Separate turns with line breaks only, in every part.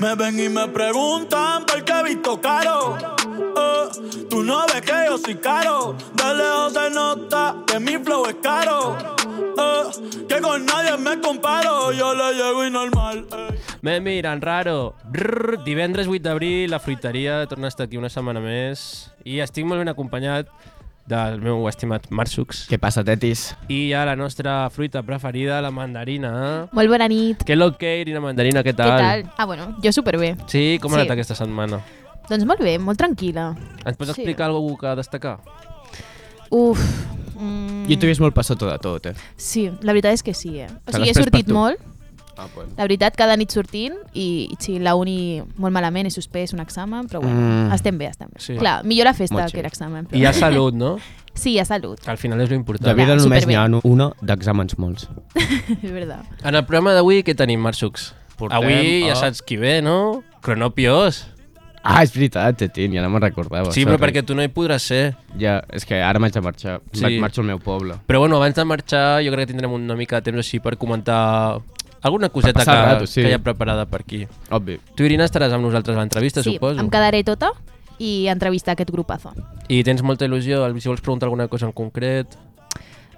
Me ven y me preguntan por qué he visto caro. Eh, tú no ves que yo soy caro. De lejos se nota que mi flow es caro. Eh, que con nadie me comparo. Yo le llego y normal. eh.
Me miren raro. Brrr, divendres 8 d'abril, la fruiteria torna a estar aquí una setmana més i estic molt ben acompanyat del meu estimat Marsucs.
Què passa, tetis?
I hi ha la nostra fruita preferida, la mandarina.
Molt bona nit.
Que lo que, Irina Mandarina, què tal?
Què tal? Ah, bueno, jo superbé.
Sí, com ha anat
Sí.
aquesta setmana?
Doncs molt bé, molt tranquil·la.
Ens pots
Sí.
explicar alguna cosa que a destacar?
Uf. Mm,
Jo t'he vist molt passoto de tot, eh?
Sí, la veritat és que sí, eh? O
Te
sigui,
l'has pres
he
per
sortit
tu.
molt,
Ah, bueno.
la veritat, cada nit sortint, i, i sí, la uni molt malament, he suspès un examen, però bueno,
Mm.
estem bé, estem bé.
Sí.
Sí. Clar, millor la festa
Molt
que
xil.
l'examen. Però...
I hi ha salut, no?
Sí, a salut,
Que al final és
De
l'important.
vida
Clar,
només
superbé.
n'hi ha una d'exàmens molts.
és veritat.
En el programa d'avui què tenim, Marsucs?
Portem
Avui ja
a-
saps qui ve, no? Cronopios.
Ah, és veritat, Tetín, ja no me'n recordava.
Sí,
sorry.
però perquè tu no hi podràs ser.
Ja, és que ara m'haig de marxar.
Sí.
Sí. Marxo al meu poble.
Però bueno, abans de marxar jo crec que tindrem una mica de temps així per comentar alguna coseta que,
passar el rato, sí.
que hi ha preparada per aquí.
Obvi.
Tu, Irina, estaràs amb nosaltres a l'entrevista,
sí,
suposo.
em quedaré tota i entrevistar aquest grupazo.
I tens molta il·lusió, si vols preguntar alguna cosa en concret...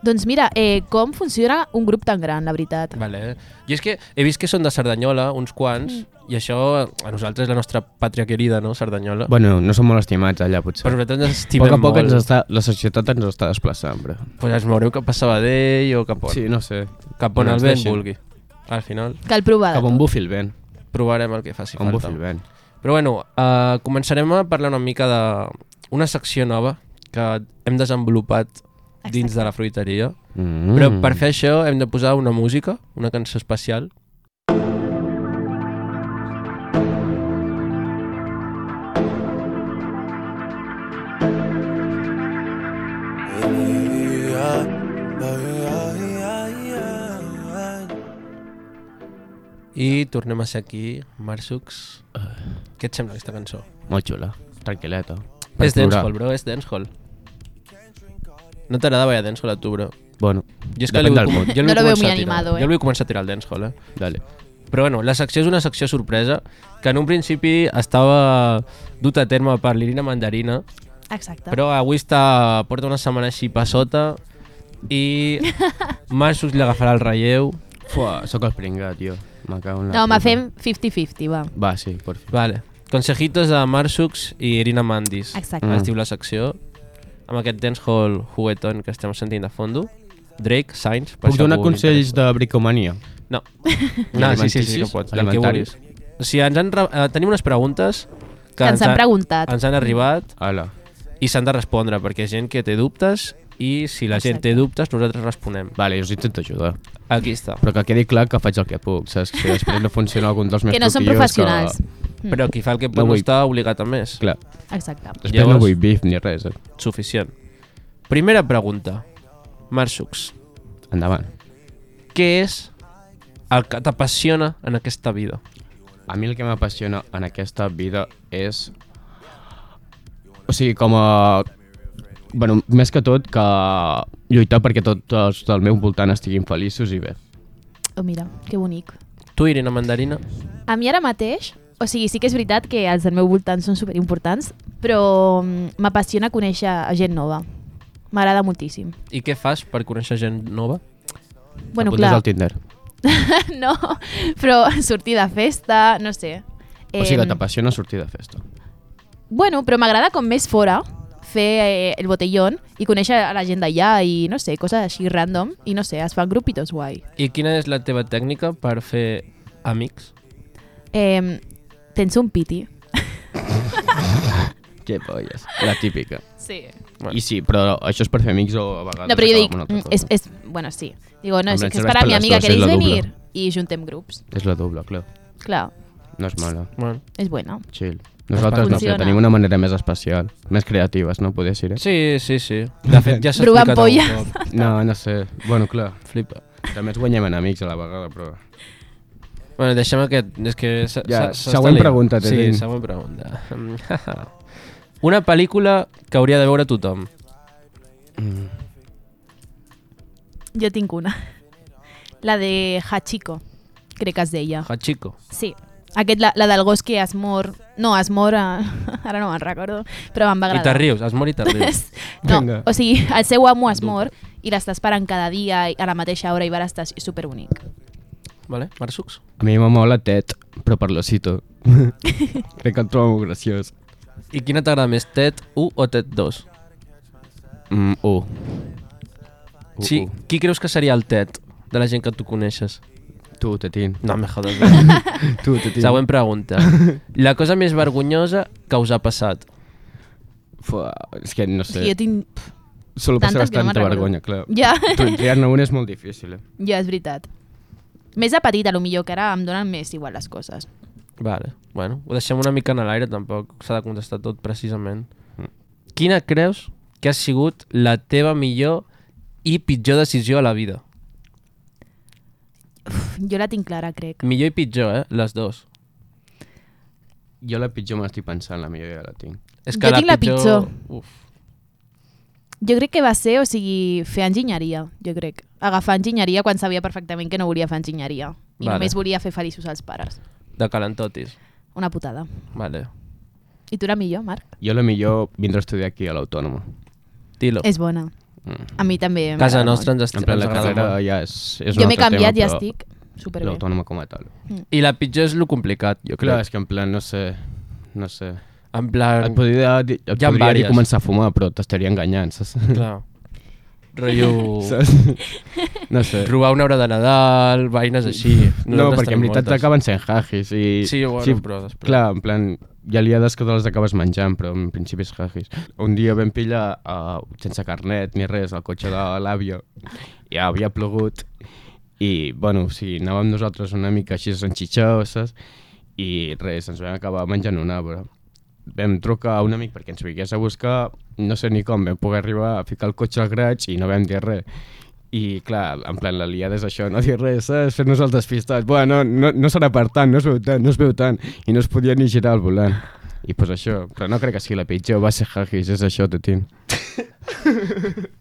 Doncs mira, eh, com funciona un grup tan gran, la veritat.
Vale. I és que he vist que són de Cerdanyola, uns quants, i això a nosaltres és la nostra pàtria querida, no?, Cerdanyola.
Bueno, no som molt estimats allà, potser.
Però nosaltres ens
a
estimem
poc a poc
molt.
ens està, la societat ens està desplaçant, però...
Pues ens veureu cap a Sabadell o cap on, sí.
Sí, no sé.
cap on
No
el
ens
vent
deixen.
vulgui. Al final
Cal provar.
Cap on bufi el vent.
provarem el que faci
On bufi
falta.
el vent.
Però bueno, uh, començarem a parlar una mica de una secció nova que hem desenvolupat Exacte. dins de la fruiteria.
Mm.
Mm. Però per fer això hem de posar una música, una cançó especial. I tornem a ser aquí, Marsucs. Què et sembla aquesta cançó?
Molt xula. Tranquil·leta. Per
És
plorar.
dancehall, bro, és dancehall. No t'agradava ja dancehall a tu, bro.
Bueno,
Jo és que
Depèn
li vull
del
com-
mood.
jo li
No
vull
lo veo
començar
muy
a tirar.
animado, eh.
Jo li vull començar a tirar el dancehall, eh?
dale.
Però bueno, la secció és una secció sorpresa que en un principi estava dut a terme per l'Irina Mandarina,
Exacte.
però avui està, porta una setmana així passota i Marsus li agafarà el relleu.
Fua, sóc el pringat, jo. Me cago en la
No, home,
puta.
fem 50-50, va.
Va, sí, por fi.
Vale. Consejitos de Marsucs i Irina Mandis.
Exacte.
Mm.
Es diu la secció amb aquest dancehall jugueton que estem sentint de fondo. Drake, Sainz... per
Puc
si
donar
algú li
consells de bricomania?
No. no, sí, sí, sí, que
Alimenticis?
pots. El que
Alimentaris?
vulguis. O sigui, ens han, re- eh, tenim unes preguntes
Que ens han preguntat.
ens han arribat
Ala.
i s'han de respondre, perquè hi ha gent que té dubtes i si la gent té dubtes, nosaltres responem.
Vale, jo us intento ajudar.
Aquí està.
Però que quedi clar que faig el que puc, saps? Que després no funciona algun dels meus
Que no són
truquillos
professionals.
Que...
Mm,
Però qui fa el que pot
No
no
vull.
està obligat a més.
Clar,
Exacte.
després
Llavors-
no vull bif ni res, eh?
Suficient. Primera pregunta. Marsucs,
Endavant.
què és el que t'apassiona en aquesta vida?
A mi el que m'apassiona en aquesta vida és... O sigui, com a... Bueno, més que tot, que lluitar perquè tots els del meu voltant estiguin feliços i bé.
Oh, mira, que bonic.
Tu, Irina Mandarina?
A mi ara mateix, o sigui, sí que és veritat que els del meu voltant són superimportants, però mm, m'apassiona conèixer a gent nova. M'agrada moltíssim.
I què fas per conèixer gent nova?
Bueno,
T'apuntes
clar,
al Tinder.
no, però sortir de festa, no sé.
O sigui,
Em,
que t'apassiona sortir de festa.
Bueno, però m'agrada com més fora fer eh, el botellón i conèixer a la gent d'allà i, no sé, coses així random i, no sé, es fan grupitos guai.
I quina és la teva tècnica per fer amics?
Eh, tens un piti.
Que polles. La típica.
Sí.
Bueno.
I sí, però això és per fer amics o a vegades...
No, però jo dic,
acaba amb una altra
mm,
cosa.
és, és, bueno, sí. Digo, no,
Hombre,
és
ens
que és
serveix
per a
per
mi
les
amiga,
dues,
queréis
és la
venir?
doble.
I juntem grups.
És la doble, clar.
Clar,
No és mala.
Bueno.
és buena.
Chill. Nosaltres no, però
Funciona.
tenim una manera més especial. Més creatives, no? Poder ser, eh?
Sí, sí, sí. De fet, ja s'ha
Provar
explicat
ampolles.
algun cop.
No, no sé. Bueno, clar.
Flipa.
També ens guanyem enemics a la vegada, però...
Bueno, deixem aquest... És que s'ha-
Ja,
s'ha- s'està
següent
liant.
pregunta,
Sí,
Tetín.
següent pregunta. Una pel·lícula que hauria de veure tothom.
Jo tinc una. La de Hachiko, crec que es deia.
Hachiko.
Sí. Aquest, la, la del gos que es mor... No, es mor... A... Ara no me'n recordo, però em va
I te
agradar.
rius, es mor i te rius.
No,
Vinga.
o sigui, el seu amo es mor i l'està esperant cada dia i a la mateixa hora i va estar superbonic.
vale? Marsucs?
A mi m'ha molt la Ted, però per l'ocito. Crec que el trobo molt graciós.
I quina t'agrada més, TED 1 o TED 2?
Mm, uh. Uh,
Sí,
uh.
qui creus que seria el TED de la gent que tu coneixes?
Tu, Tetín.
No, me jodes. eh?
Tu, Tetín.
Següent pregunta. La cosa més vergonyosa que us ha passat?
Fua, és que no
O sigui,
sé.
jo tinc...
Solo passa
tantes que no me'n
bastanta
recordo.
vergonya, clar.
Ja.
Tu, triar-ne una és molt difícil, eh?
Ja, és veritat. Més de petita, lo millor que ara em donen més igual les coses.
Vale, bueno, ho deixem una mica en l'aire, tampoc s'ha de contestar tot precisament. Quina creus que ha sigut la teva millor i pitjor decisió a la vida?
Uf, jo la tinc clara, crec.
Millor i pitjor, eh? Les dues.
Jo la pitjor me l'estic pensant, la millor ja la tinc.
Jo tinc la pitjor.
Uf.
Jo crec que va ser, o sigui, fer enginyeria, jo crec. Agafar enginyeria quan sabia perfectament que no volia fer enginyeria. I
Vale.
vale. només volia fer feliços als pares.
De calentotis.
Una putada.
Vale.
I tu la millor, Marc?
Jo la millor vindré a estudiar aquí a l'Autònoma.
Dilo.
És bona.
Mm.
A mi també.
Casa
m'agrada
nostra ens,
En
ens
plan, la eh,
agrada
carrera
molt.
ja és, és
molt. Jo
un
m'he
altre
canviat
tema,
i
però
estic superbé. Mm.
L'Autònoma com a tal.
I la pitjor és lo complicat, jo
Clar,
crec.
és que en plan, no sé, no sé.
En plan...
Et podria, dir- et
Hi ha Uh.
podria dir
vàries.
començar a fumar, però t'estaria enganyant, saps?
Clar. Rotllo...
Saps? No sé.
Robar una hora de Nadal, vaines així.
No,
Nosaltres
perquè en
tenim
veritat
moltes.
acaben sent hajis. I...
Sí, bueno, però després-
Clar, en plan, hi ha liades que te les acabes menjant, però en principi és hajis. Un dia vam pillar, uh, sense carnet ni res, el cotxe de l'àvia, i havia plogut, i, bueno, o sigui, anàvem nosaltres una mica així enxitxoses, i res, ens vam acabar menjant un arbre. Vam trucar a un amic perquè ens vingués a buscar, no sé ni com, vam poder arribar a ficar el cotxe al graig i no vam dir res. I clar, en plan, la liada és això, no dir res, saps? Fer-nos el despistat. Bueno, no, no serà per tant, no es veu tant, no es veu tant. I no es podia ni girar al volant. I pues això, però no crec que sigui la pitjor, va ser hajis, és això, Tetín.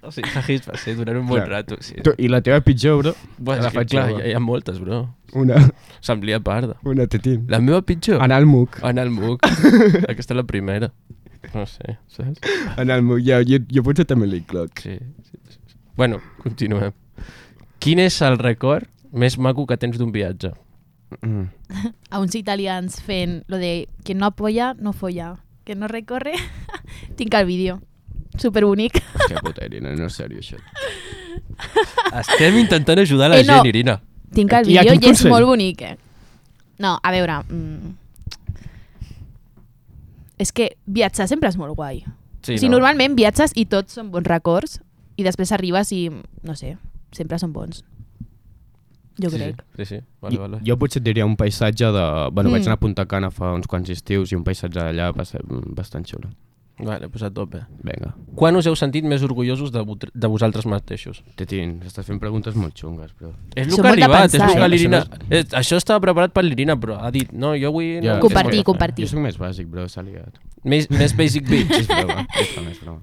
O sigui, jajis va ser durant un bon
Clar.
rato, sí.
Tu, I la teva pitjor, bro?
Bueno,
la
és que, clar,
jove.
hi, hi ha moltes, bro.
Una,
Semblia parda.
una, Tetín.
La meva pitjor?
Anar al MUC.
Anar al MUC. Aquesta és la primera. No sé, saps?
Anar al MUC, ja, jo, jo potser també l'incloc.
Sí, sí, sí. Bueno, continuem. Quin és el record més maco que tens d'un viatge?
Mm.
A uns italians fent lo de que no apoya, no folla. Que no recorre, tinc el vídeo. Superbonic.
Hòstia puta, Irina, no és seriós, això.
Estem intentant ajudar la
Eh, no.
gent, Irina.
Tinc el
I a
vídeo
quin
i és
consell?
molt bonic, eh? No, a veure... Mm, és que viatjar sempre és molt guai. Sí, o sigui, no. normalment viatges i tots són bons records i després arribes i, no sé, sempre són bons. Jo
sí,
crec.
Sí, sí, sí. Vale, vale.
Jo, jo potser et diria un paisatge de... Bueno, mm. vaig
Mm.
anar a Punta Cana fa uns quants estius i un paisatge d'allà va ser mm, bastant xulo.
Vale, pues a tope.
Vinga.
Quan us heu sentit més orgullosos de, vot- de vosaltres mateixos?
Tetín, estàs fent preguntes molt xungues, però...
És el
Això
que ha
molt de
arribat, és
pensar,
el que
eh?
l'Irina...
Això
Eh, Això estava preparat per l'Irina, però ha dit, no, jo avui... No.
és Compartir, molt- compartir.
Jo soc més bàsic, bro, s'ha liat.
Més, més basic
És
bitch.
broma, és broma, és broma.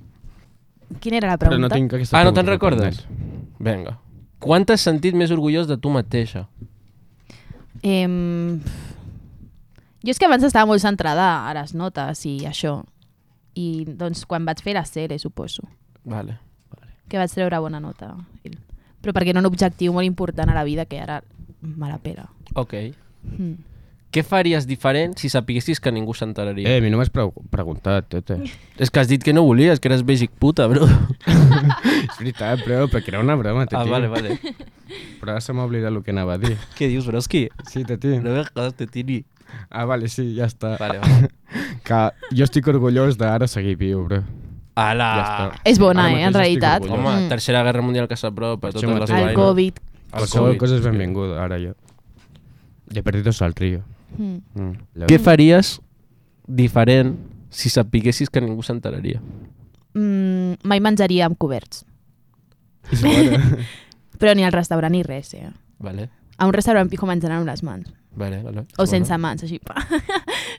Quina era la
Però no
pregunta?
tinc aquesta
ah, no te'n
pregunta
recordes?
preparada.
Vinga. Quan t'has sentit més orgullós de tu mateixa?
Em, jo és que abans estava molt centrada a les notes i això. I doncs quan vaig fer la sèrie, suposo,
Vale.
que vaig treure bona nota. Però perquè era un objectiu molt important a la vida que ara me la pela.
Ok.
Mm.
Què faries diferent si sapiguessis que ningú s'enteraria?
Eh, a mi no m'has pre preguntat, Tete.
És que has dit que no volies, que eres basic puta, bro.
és veritat, bro, però que era una broma, Tete.
ah, vale, vale.
Però ara se m'ha oblidat el que anava a dir.
Què dius, broski?
Sí, Tete.
No me jodas, te tini.
Ah, vale, sí, ja està.
Vale, vale.
Que jo estic orgullós d'ara seguir viu, bro.
Ala!
Ja està.
És bona,
Ara
eh, en
mateix estic
realitat.
orgullós.
Ah. Home,
Mm.
tercera guerra mundial que s'apropa, totes
Això
les
mateix.
El
Bueno.
vainas.
Covid.
Qualsevol
Covid.
cosa és benvinguda, ara jo. De perdidos al río.
Mm.
Mm. la-
Què faries diferent si sapiguessis que ningú s'enteraria?
Mm, mai menjaria amb coberts.
És bona.
Però ni al restaurant ni res, eh?
Vale,
A un restaurant pico menjant amb les mans.
vale, vale.
O sense mans, així. pa.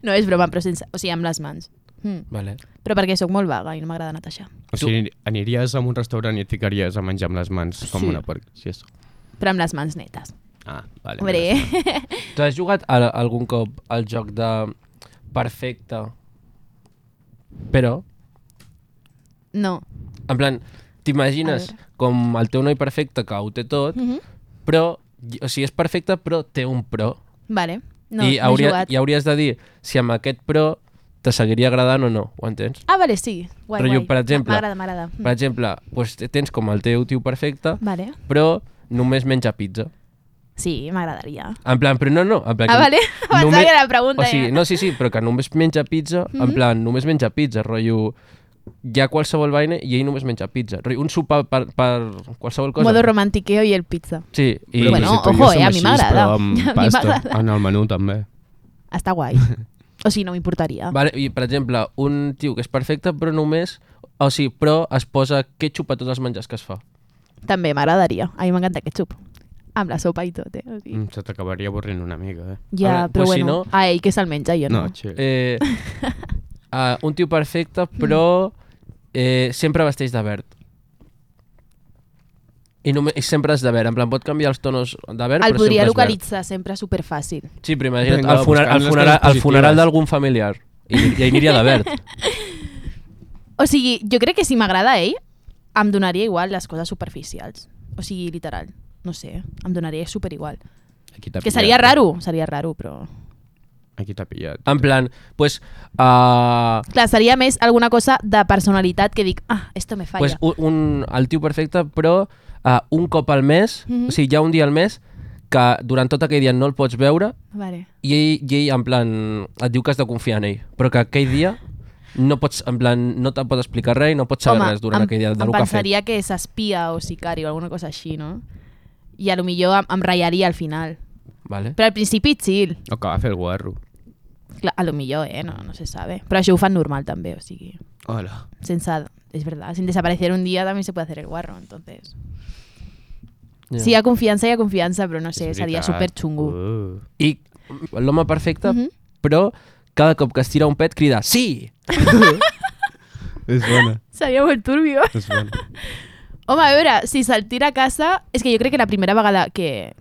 no és broma, però sense... O sigui, amb les mans. Mm.
Vale.
Però perquè sóc molt vaga i no m'agrada netejar.
O sigui, aniries a un restaurant i et ficaries a menjar amb les mans com
Sí.
una porca. Sí, és...
Però amb les mans netes.
Ah, vale.
Hombre, eh,
mira.
Tu has jugat a, algun cop al joc de perfecte, però,
no.
en plan, t'imagines
A veure.
com el teu noi perfecte que ho té tot,
Mhm.
però, o sigui, és perfecte, però té un però.
Vale. No,
I,
no he
hauria,
jugat.
I hauries de dir si amb aquest però te seguiria agradant o no, ho entens?
Ah, vale, sí. Guai,
Rotllo,
guai.
per exemple-
M'agrada, m'agrada. Mm.
Per exemple, doncs, tens com el teu tio perfecte,
Vale.
però només menja pizza.
Sí, m'agradaria.
En plan, però no, no. En plan,
Ah,
que
vale. Pensava que era la pregunta,
O sigui,
ja. Mm-hmm.
no, sí, sí, però que només menja pizza, mm -hmm. en plan, només menja pizza, rotllo... Hi ha qualsevol vaina i ell només menja pizza. Rotllo, un sopar per, per qualsevol cosa.
Modo romantiqueo i el pizza.
Sí, i...
Però
Bueno,
tu i jo
ojo, eh,
som
a mi
així,
m'agrada.
però
A mi
Amb pasta,
m'agrada.
en el menú també.
Està guai. O sigui, no m'importaria.
Vale, I, per exemple, un tio que és perfecte, però només... O sigui, però es posa ketchup a tots els menjars que es fa.
També m'agradaria. A mi m'encanta ketchup. Amb la sopa i tot, eh? O sigui,
Mm, Se t'acabaria avorrint una mica, eh?
Ja,
A veure,
però
pues si
bueno,
no-
a ell que se'l menja, jo no.
No, chill.
Eh, uh, un tio perfecte,
Mm.
però eh, sempre vesteix de verd. I, només, I sempre és de verd. En plan, pot canviar els tonos de verd,
El
però
podria
sempre és verd.
localitzar sempre superfàcil.
Sí, però imagina't,
Vinga,
el, funeral,
buscant
el,
les
funeral,
coses
el funeral
positives.
d'algun familiar. I, I hi aniria de verd.
O sigui, jo crec que si m'agrada ell, em donaria igual les coses superficials. O sigui, literal. No sé, em donaria super igual.
Aquí t'ha
Que
pillat.
seria raro, seria raro, però...
Aquí t'ha pillat.
En plan, pues, uh,
Clar, seria més alguna cosa de personalitat que dic, ah, esto me falla.
pues un, un, el tio perfecte, però uh, un cop al mes,
Mhm.
o sigui, hi ha un dia al mes que durant tot aquell dia no el pots veure
Vale.
i ell, i ell en plan, et diu que has de confiar en ell, però que aquell dia no pots, en plan, no te pot explicar res i no pots saber res durant aquell dia del
em
que ha fet.
pensaria que és espia o sicari o alguna cosa així, no? I a lo millor em, em ratllaria al final.
Vale?
Però al principi chill.
O que va fer el guarro.
Clar, a lo millor, eh? No, no se sabe. Però això ho fan normal també, o sigui,
Hola.
sense... És verdad, sin desaparecer un día también se puede hacer el guarro, entonces...
Ja.
Sí, hi ha confiança, hi ha confiança, però no sé,
És
seria
veritat.
super xungo.
Uh.
I l'home perfecte,
Mhm.
però cada cop que es tira un pet crida sí!
És bona,
Seria molt turbio.
és bona.
Home, a veure, si se'l tira a casa... És que jo crec que la primera vegada que...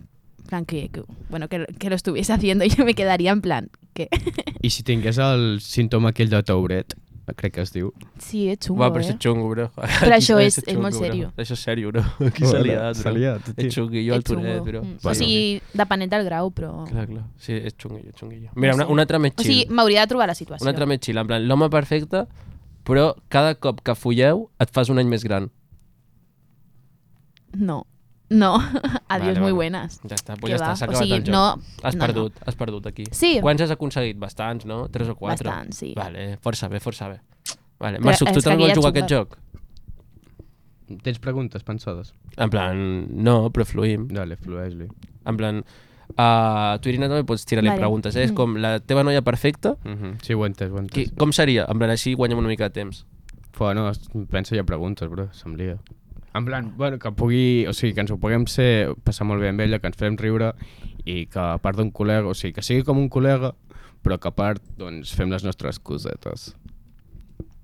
En plan, que, que, bueno, que, que lo estuviese haciendo yo me quedaría en plan... Que...
I si tingués el símptoma aquell de Touret, crec que es diu.
Sí, és xungo,
Va, però
eh?
això és xungo, bro.
Però això és-
Això
és molt
xungo, bro.
serio.
Això és serio, bro. Aquí s'ha
Hola,
liat, bro.
s'ha liat, tio.
És xunguillo al
És xungo.
Tourette, bro.
Mm.
Bueno.
O sigui, depenent del grau, però...
Clar, clar. Sí, és xunguillo, xunguillo. Mira,
No
una,
sé.
una altra més
O sigui,
chill.
m'hauria de trobar la situació.
Una altra més chill. En plan, l'home perfecte, però cada cop que folleu et fas un any més gran.
No. No.
Vale,
Adiós, muy
vale.
buenas.
Ja està, pues
Què
ja està,
va?
s'ha
O
acabat
sigui,
el joc.
no-
has
no, no.
perdut, has perdut aquí.
Sí.
Quants has aconseguit? Bastants, no? Tres o quatre?
Bastants, sí.
Vale, força bé, força bé. Vale,
Però
Marçuc, tu
és que
també
aquí
vols
ja
jugar a
xunga.
aquest joc?
Tens preguntes pensades?
En plan, no, però fluïm.
Dale, flueix-li.
En plan, uh, tu, Irina, també pots tirar-li
Vale.
preguntes, eh? És
Mm.
com la teva noia perfecta,
Uh -huh. Sí, ho he entès, ho he entès.
Qui, com seria? En plan, així guanyem una mica de temps.
Bueno, es- pensa ja preguntes, bro, se'm lia. En plan, bueno, que pugui, o sigui, que ens ho puguem ser, passar molt bé amb ella, que ens fem riure i que a part d'un col·lega, o sigui, que sigui com un col·lega, però que a part, doncs, fem les nostres cosetes.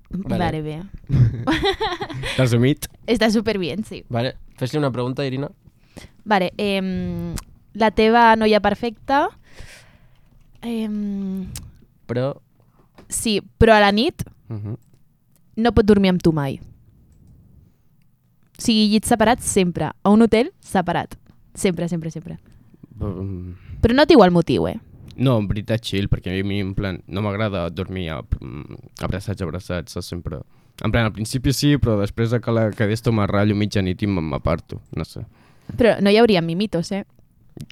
Vale.
Vale, vale bé.
Resumit,
Està super bien, sí.
Vale? Fes-li una pregunta, Irina.
Vale, eh, la teva noia perfecta... Eh,
Però...
sí, però a la nit
uh -huh.
no pot dormir amb tu mai. O sigui, llit separat sempre. A un hotel, separat. Sempre, sempre, sempre. Però no té igual motiu, eh?
Mm-hmm. no, en veritat, chill, perquè a mi, en plan, no m'agrada dormir a, mm, abraçats, abraçats, saps? sempre... En plan, al principi sí, però després de que la quedés tomar ratllo mitjanit i me- m'aparto, no sé.
Però no hi hauria mimitos, eh?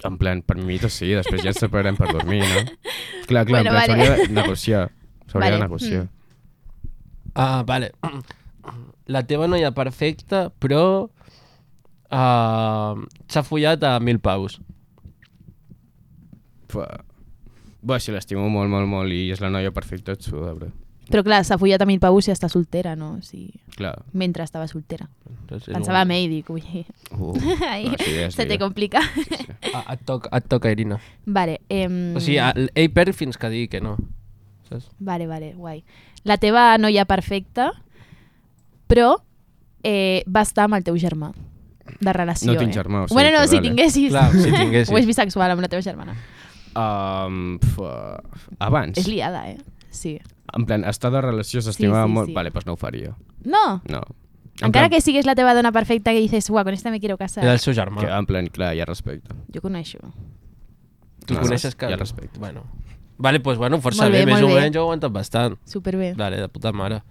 En plan, per mi sí, després ja ens separarem per dormir, no? Clar, clar, bueno, en
Bueno,
plan,
vale.
s'hauria vale. de negociar. S'hauria vale.
Vale,
de negociar. Mm.
Ah, vale. La teva noia perfecta, però... Uh, S'ha follat a mil paus.
Però... Bé, si l'estimo molt, molt, molt i és la noia perfecta, et suda, bro.
Però clar, s'ha follat a mil paus i està soltera, no? O sigui,
Clar.
mentre estava soltera.
Entonces, és
Pensava
un-
en ell, dic, ui,
Uh,
Ai,
no, sí, Pues és
se te
lío.
complica.
Ah, et, toca, et toca, Irina.
Vale, em... Mm.
ah.
O sigui, el- ell perd fins que digui que no. saps?
Vale, vale, guai. La teva noia perfecta, però eh, va estar amb el teu germà de relació.
No tinc
eh?
germà, o sigui
bueno, no,
que
si
vale.
tinguessis.
Clar, si tinguessis.
Ho és bisexual amb la teva germana.
Um, pf, uh, abans.
És liada, eh? Sí.
En plan, estar de relació s'estimava
Sí, sí,
molt...
sí.
Vale, pues no ho faria.
No,
No. En
encara
plan,
que sigues la teva dona perfecta que dices, uah, con esta me quiero casar.
Era el seu
que...
germà.
En plan, clar, hi ha respecte.
Jo coneixo.
Tu
Clar,
coneixes que...
Hi ha respecte.
Bueno. Vale, doncs, pues, bueno, força
Molt bé,
bé, més
molt
o
bé.
menys, jo ho he aguantat bastant.
Superbé.
Vale, de puta mare.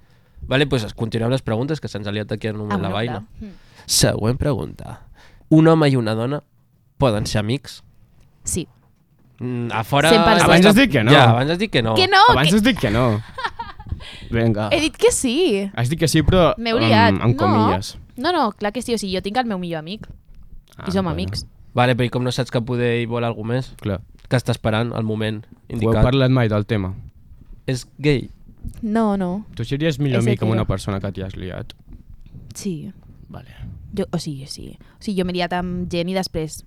Vale, doncs pues, continuem les preguntes, que se'ns ha liat aquí en un
Ah,
moment la
bueno,
vaina.
clar. Mm.
Següent pregunta. Un home i una dona poden ser amics?
Sí.
Mm, a fora...
100%.
Abans has dit que no.
Ja, abans has dit que no.
Que no,
Abans
que...
has dit que no. Vinga.
he dit que sí.
Has dit que sí, però...
M'he oblidat.
Amb, amb
no.
comillas.
No, no, clar que sí. O sigui, jo tinc el meu millor amic ah, i som bueno. amics.
Vale, però i com no saps que poder hi vol alguna més?
Clar.
Que està esperant el moment
Ho heu
indicat.
parlat mai del tema.
És gay.
No, no.
Tu series millor
És
amic amb
hetero.
una persona que t'hi has liat.
Sí.
Vale.
Jo, o sigui, sí. O sigui, jo m'he liat amb gent i després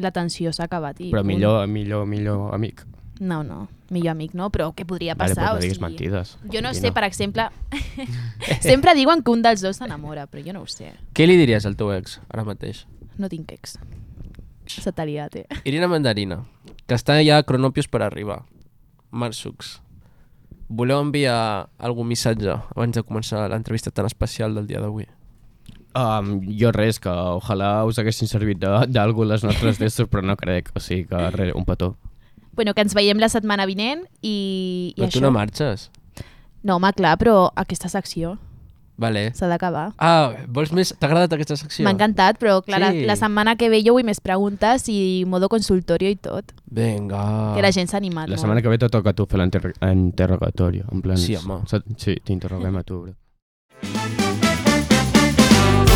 la tensió s'ha acabat. I
Però
punt.
millor, millor, millor amic.
No, no. Millor amic no, però què podria
Vale,
passar?
però no
o
diguis
sigui,
mentides.
Jo no
Martina.
sé, per exemple... Sempre diuen que un dels dos s'enamora, però jo no ho sé.
Què li diries al teu ex ara mateix?
No tinc ex. Se t'ha liat, eh?
Irina Mandarina, que està ja a Cronopios per arribar. Marsucs, voleu enviar algun missatge abans de començar l'entrevista tan especial del dia d'avui?
Um, jo res, que ojalà us haguessin servit de- d'algú les nostres destres, però no crec. O sigui que res, un petó.
Bueno, que ens veiem la setmana vinent i, i
Però tu
això.
no marxes.
no, home, clar, però aquesta secció
Vale.
s'ha d'acabar.
Ah, vols més? T'ha agradat aquesta secció?
M'ha encantat, però clar,
Sí.
la, la setmana que ve jo vull més preguntes i modo consultorio i tot.
Vinga.
Ah. Que la gent s'ha animat
La
molt.
setmana que ve te toca a tu fer l'interrogatori. En plan...
Sí, home.
sa- Sí, t'interroguem a tu, bro.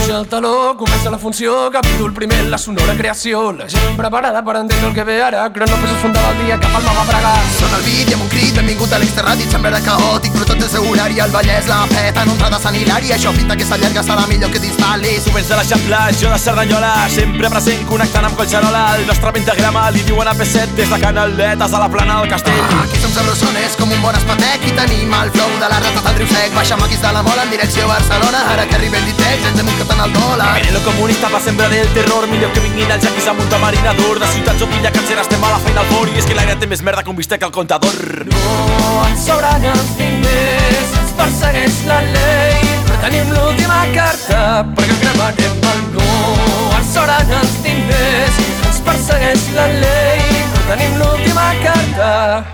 Puja el taló, comença la funció, capítol primer, la sonora creació. La gent preparada per entendre el que ve ara, Cronopes es fundava el dia que Palma va bregar.
Sona el beat i amb un crit hem vingut a l'exterrat i semblarà caòtic però tot és regular i el Vallès la peta en entrada Sant Hilari això pinta que s'allarga serà millor que t'instal·lis
Moments de l'Eixample, jo de Cerdanyola, sempre present connectant amb Collserola, el nostre pentagrama li diuen AP7 des de Canaletes a la plana del castell.
Ah, Aquí som sabrosones com un bon espatec i tenim el flow de la rata del riu sec baixa maquis de la mola en direcció a Barcelona ara que arriba el ditex ens hem muntat en el dòlar
Veneno comunista va sembrar el terror, millor que vinguin els jaquis amb un tamarinador. De ciutats o pilla cancer estem a la feina al fort i és que l'aire té més merda que un bistec al contador.
No ens sobran els diners, ens persegueix la llei, però tenim l'última carta perquè cremarem el no. Ens sobran els diners, ens persegueix la llei, però tenim l'última carta.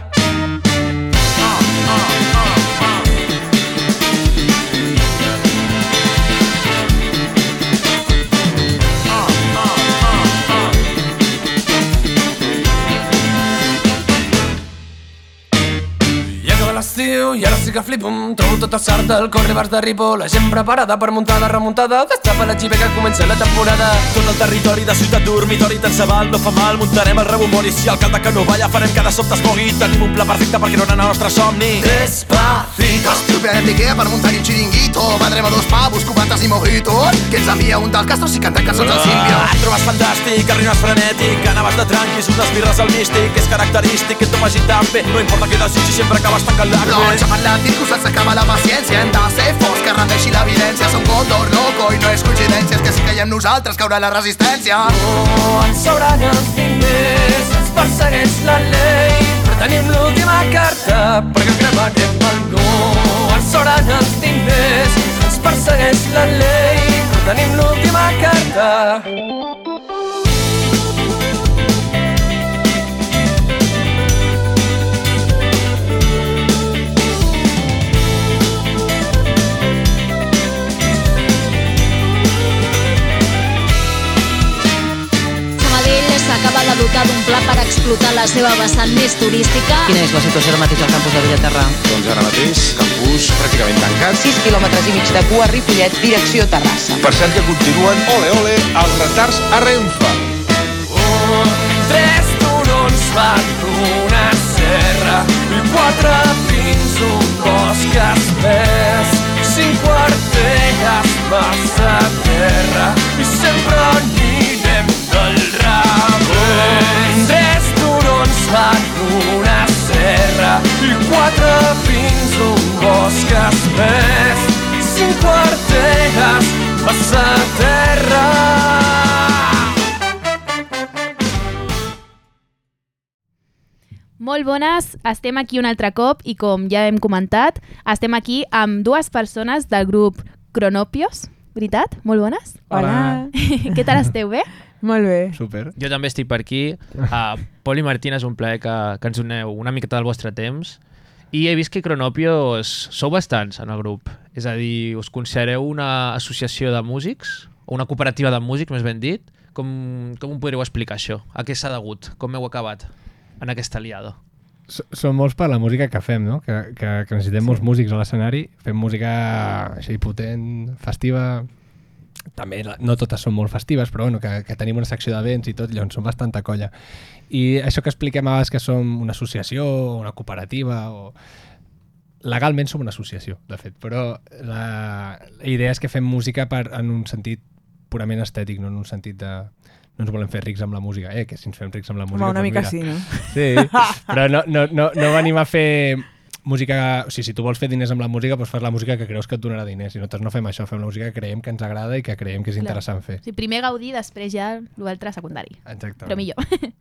I acaba l'estiu i ara sí que flipo Em Trobo
tota
tot el sart del cor ribars de Ripo La gent preparada per muntar la remuntada Destapa la xive que comença la temporada
Tot el territori de ciutat dormitori tant se val, no fa mal, muntarem el rebomori. Si el calde que no balla farem que de sobte es mogui, tenim un pla perfecte per crear el nostre somni.
Despacito
Trobarem l'Ikea per muntar un xiringuito Vendrem a dos pavos, cubates i mojitos que ens envia un del Castro si canta cançons al Sílvia
Ah, et trobes fantàstic, arribes frenètic, anaves de tranquis, unes birres al místic, és característic que et tomes i també, no importa què desitgis, sempre acabes tancant l'acme.
No,
Doncs
xapant la circus ens acaba la paciència Hem de ser forts que rendeixi l'evidència Som Condor Loco i no és coincidència és que si caiem nosaltres caurà la resistència
No ens sobran els diners Ens persegueix la llei Però tenim l'última carta Perquè cremarem el no Ens sobran els diners Ens persegueix la llei Però tenim l'última carta
Sabadell s'acaba de dotar d'un pla per explotar la seva vessant més turística.
Quina és la situació ara mateix al campus de Villaterra?
Doncs ara mateix, campus pràcticament tancat.
6 quilòmetres i mig de cua, Ripollet, direcció Terrassa.
Per cert que continuen, ole, ole, els retards a Renfe.
Un, tres turons van una serra I quatre fins un bosc espès Cinc quartelles massa terra I sempre anirem del revés Tres turons van una serra I quatre quarteres vas a terra.
Molt bones, estem aquí un altre cop i com ja hem comentat, estem aquí amb dues persones del grup Cronopios, veritat? Molt bones?
Hola.
Què tal esteu, bé?
Molt bé.
Super. Jo també estic per aquí. Uh, Poli Martín, és un plaer que, que ens doneu una miqueta del vostre temps. I he vist que Cronopios sou bastants en el grup. És a dir, us considereu una associació de músics? O una cooperativa de músics, més ben dit? Com, com ho podreu explicar, això? A què s'ha degut? Com heu acabat en aquesta aliada?
S- Som molts per la música que fem, no? Que, que, que necessitem molts músics a l'escenari. Fem música així potent, festiva... També la- no totes són molt festives, però bueno, que, que tenim una secció d'events i tot, llavors som bastanta colla. I això que expliquem a vegades que som una associació, o una cooperativa, o... Legalment som una associació, de fet, però la, la idea és que fem música per, en un sentit purament estètic, no en un sentit de... No ens volem fer rics amb la música, eh? Que si ens fem rics amb la música...
Home, una
doncs
mica
mira.
sí, no?
Sí, però no, no, no, no venim a fer música... O sigui, si tu vols fer diners amb la música, doncs fas la música que creus que et donarà diners. I nosaltres no fem això, fem la música que creiem que ens agrada i que creiem que és
Clar.
interessant fer.
O sigui, primer Gaudí, després ja l'altre secundari.
Exactament.
Però millor.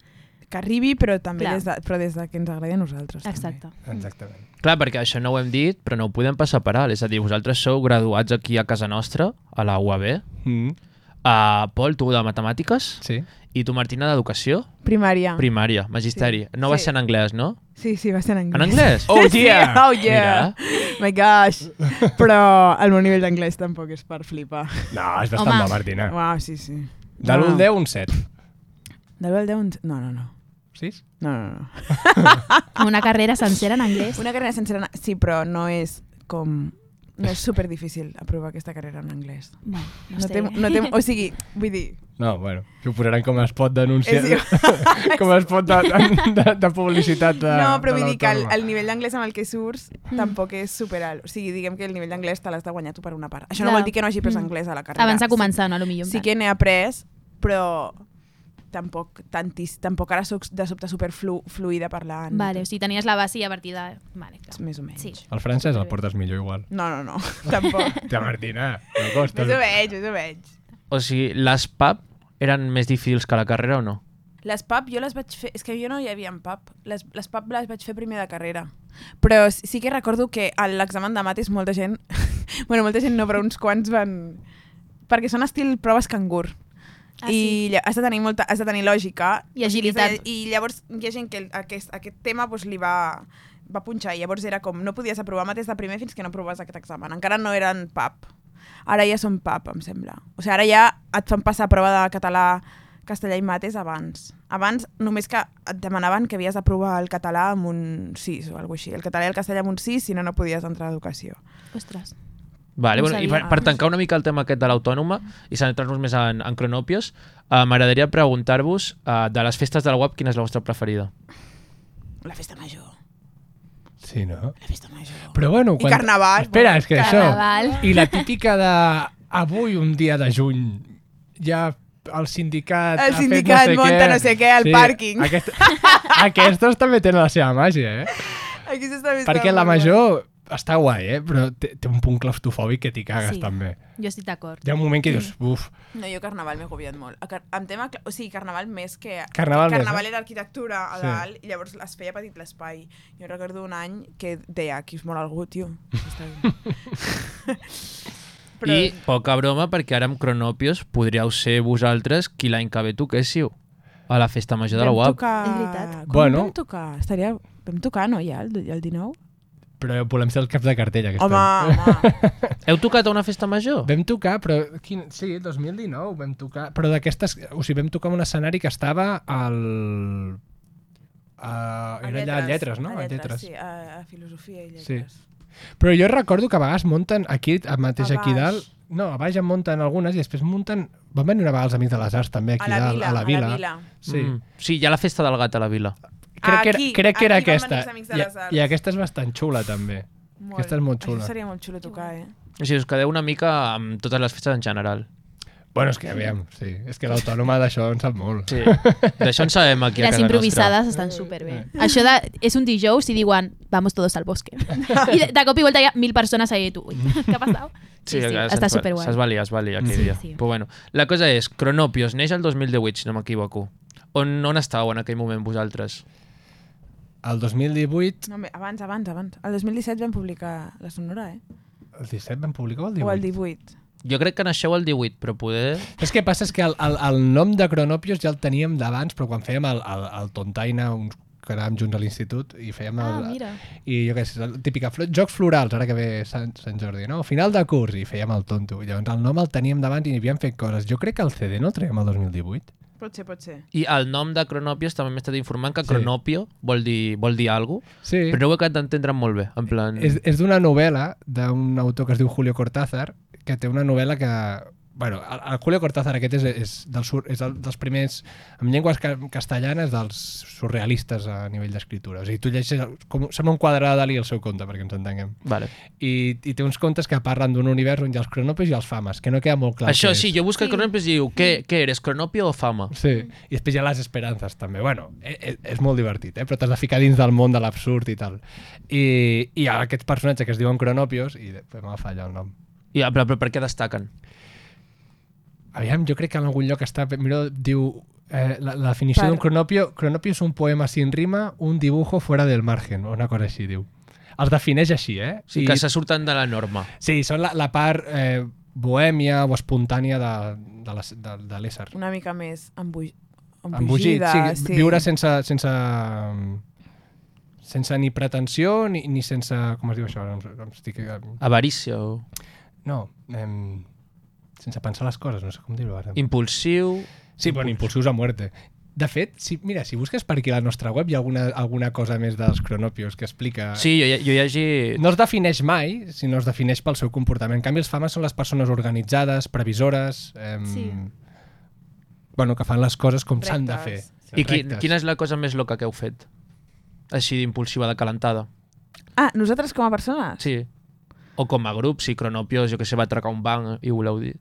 Que arribi, però també
Clar.
des de, però des de que ens agradi a nosaltres.
Exacte.
Exactament.
Clar, perquè això no ho hem dit, però no ho podem passar per alt. És a dir, vosaltres sou graduats aquí a casa nostra, a la UAB.
Mm.
Uh, Pol, tu de matemàtiques.
Sí.
I tu, Martina, d'educació. Ah.
Primària.
Primària, magisteri. Sí. No va
Sí.
ser en anglès, no?
Sí, sí, va ser en anglès.
En anglès?
Oh, yeah!
Mira.
oh, yeah! My gosh! Però el meu nivell d'anglès tampoc és per flipar.
No, és bastant Home. bo, Martina.
Uau, sí, sí.
De l'1 al 10, un 7.
De l'1 al 10, un... No, no, no.
6?
No, no, no.
Una carrera sencera en anglès.
Una carrera sencera en... Sí, però no és com... No és super difícil aprovar aquesta carrera en anglès.
No,
no
no
sé.
té, no té, o sigui, vull dir,
No, bueno, que ho posaran com es pot denunciar.
És
com es pot de, de, de publicitat de,
no, però
de
vull dir que el,
l'autònoma.
el nivell d'anglès amb el que surts
Mm.
tampoc és super alt. O sigui, diguem que el nivell d'anglès te l'has de guanyar tu per una part. Això no
Clar.
vol dir que no hagi pres
Mm.
anglès a la carrera.
Abans de
Sí-
començar, no? A lo millor, en
Sí
plan.
que n'he après, però tampoc, tantis, tampoc ara soc de sobte super flu, fluida parlant.
Vale, o sigui, tenies la base i a partir de... Vale, clar.
Més o menys.
Sí.
El francès el portes millor igual.
No, no, no, tampoc.
Ja, Martina, no costa.
Més o menys, més o menys.
O sigui, les PAP eren més difícils que la carrera o no?
Les PAP jo les vaig fer... És que jo no hi havia en PAP. Les, les PAP les vaig fer primer de carrera. Però s- sí que recordo que a l'examen de mates molta gent... bueno, molta gent no, però uns quants van... Perquè són estil proves cangur.
Ah,
I lla- has de, tenir molta, has de tenir lògica.
I
O sigui,
agilitat.
I llavors hi ha gent que el- aquest, aquest tema pues, li va, va punxar. I llavors era com, no podies aprovar mates de primer fins que no aproves aquest examen. Encara no eren PAP. Ara ja són PAP, em sembla. O sigui, ara ja et fan passar prova de català, castellà i mates abans. Abans només que et demanaven que havies d'aprovar el català amb un 6 o alguna així. El català i el castellà amb un 6, si no, no podies entrar a educació.
Ostres.
Vale,
No
bueno, i
sabia. ah.
per, per tancar una mica el tema aquest de l'autònoma i centrar-nos més en, en cronòpios, uh, m'agradaria preguntar-vos uh, de les festes del web quina és la vostra preferida.
La festa major.
Sí, no?
La festa major.
Però bueno...
I carnaval.
Espera, és que
Carnaval.
això... I la típica de... Avui, un dia de juny, ja el sindicat...
El
ha
sindicat
fet no sé
munta
què.
no sé què al pàrquing.
Aquest... Aquestes també tenen la seva màgia, eh?
Aquí s'està vist
Perquè
molt
la
guai.
major està guai, eh? Però té, té un punt claustrofòbic que t'hi cagues,
Sí.
també.
Jo estic d'acord.
Hi ha un moment que dius, uf,
No, jo carnaval m'he agobiat molt. A Car amb tema, cla- o sigui, carnaval més que...
Carnaval més,
carnaval
eh?
era arquitectura a
Sí.
dalt i llavors es feia petit l'espai. Jo recordo un any que deia, aquí us mor algú, tio. Està bé.
Però... I poca broma, perquè ara amb cronòpios podríeu ser vosaltres qui l'any que ve toquéssiu a la festa major de la
Vam
UAB.
Tocar... És veritat. Com bueno.
Bueno.
vam tocar? Estaria... Vam tocar, no, ja, el, el 19?
però volem ser els caps de cartella. Aquest
Home,
any.
home.
Heu tocat a una festa major?
Vam tocar, però... Quin... Sí, 2019 vam tocar... Però d'aquestes... O sigui, vam tocar en un escenari que estava al... Uh, era allà a lletres, no?
A lletres, sí, a, a filosofia i lletres.
Sí. Però jo recordo que a vegades munten aquí, a- mateix
A
aquí
baix.
dalt... No, a baix en munten algunes i després munten... Van venir una vegada els Amics de les Arts també aquí
la
dalt,
vila,
a la vila.
a la vila.
Sí.
Mm. Sí, hi ha la festa del gat a la vila.
Crec que era,
Aquí,
crec que era
aquí van venir
aquesta.
els Amics de
I,
les Arts.
I aquesta és bastant xula, també.
Molt.
Aquesta és molt xula.
Això seria molt xulo tocar, eh?
O sigui, us quedeu una mica amb totes les festes en general.
Bueno, és que aviam, sí. És que l'autònoma d'això en sap molt.
Sí. D'això en sabem aquí a
Les
casa
improvisades
nostra.
estan superbé. Això de, és un dijous i diuen vamos todos al bosque. I de, de cop i volta hi ha mil persones allà i tu, ui, què ha passat? Sí, sí,
que
està
se'ns va-
superguai.
Se'ns va liar, es va liar aquell
Sí,
dia.
sí.
Però bueno, la cosa és, Cronopios neix el 2018, si no m'equivoco. On, on estàveu en aquell moment vosaltres?
El 2018,
No, home, abans, abans, abans. El 2017 vam publicar la sonora, eh?
el 17 vam publicar o el 18?
O el 18.
Jo crec que naixeu el 18, però poder...
És que passa és que el, el, el nom de Cronopios ja el teníem d'abans, però quan fèiem el, el, el Tontaina, uns que anàvem junts a l'institut i fèiem el,
Ah, mira.
i jo què sé, la típica flor, jocs florals, ara que ve Sant, Sant Jordi, no? Final de curs, i fèiem el tonto. I llavors el nom el teníem d'abans i n'hi havíem fet coses. Jo crec que el CD no el traiem el 2018.
Pot ser, pot ser.
I el nom de Cronopios també m'he estat informant que
Sí.
Cronopio vol dir, vol dir alguna cosa,
Sí.
però no ho he acabat d'entendre molt bé. En plan...
És, és d'una novel·la d'un autor que es diu Julio Cortázar, que té una novel·la que... Bueno, el, el Julio Cortázar aquest és, és, del sur, és el, dels primers, en llengües ca- castellanes, dels surrealistes a nivell d'escriptura. O sigui, tu llegeixes... el- Com, sembla un quadre de Dalí el seu conte, perquè ens entenguem.
Vale.
I, I té uns contes que parlen d'un univers on hi ha els cronopes i els fames, que no queda molt clar.
Això
què
sí,
és.
jo busco sí. Cronopios i diu, què, què eres, Cronopio o fama?
Sí, i després hi ha les esperances també. Bueno, és, és molt divertit, eh? però t'has de ficar dins del món de l'absurd i tal. I, I hi ha aquest personatge que es diuen Cronopios i de- me va fallar el nom.
I, però, però per què destaquen?
Aviam, jo crec que en algun lloc està... Mira, diu... Eh, la, la definició
Per-
d'un cronopio... Cronopio és un poema sin rima, un dibujo fuera del margen, o una cosa així, diu. Els defineix així, eh?
O sigui, que se surten de la norma.
Sí, són la, la part eh, bohèmia o espontània de, de les- de, de l'ésser.
Una mica més embull...
Embogit,
embogida.
sí, viure sense, sense, sense ni pretensió ni, ni sense... Com es diu això? Ara Em, em estic...
Avarícia o...
No, em, sense pensar les coses, no sé com dir-ho ara.
Impulsiu...
Sí, bueno, impulsius a muerte. De fet, si, mira, si busques per aquí la nostra web hi ha alguna, alguna cosa més dels cronopios que explica...
Sí, jo, jo hi hagi...
No es defineix mai, sinó es defineix pel seu comportament. En canvi, els fames són les persones organitzades, previsores... Em,
Sí.
Bueno, que fan les coses com s'han de fer.
I qui,
Rectes.
quina és la cosa més loca que heu fet? Així d'impulsiva, de calentada.
Ah, nosaltres com a persones?
Sí. O com a grup, si Cronopios, jo que sé, va atracar un banc i voleu dir.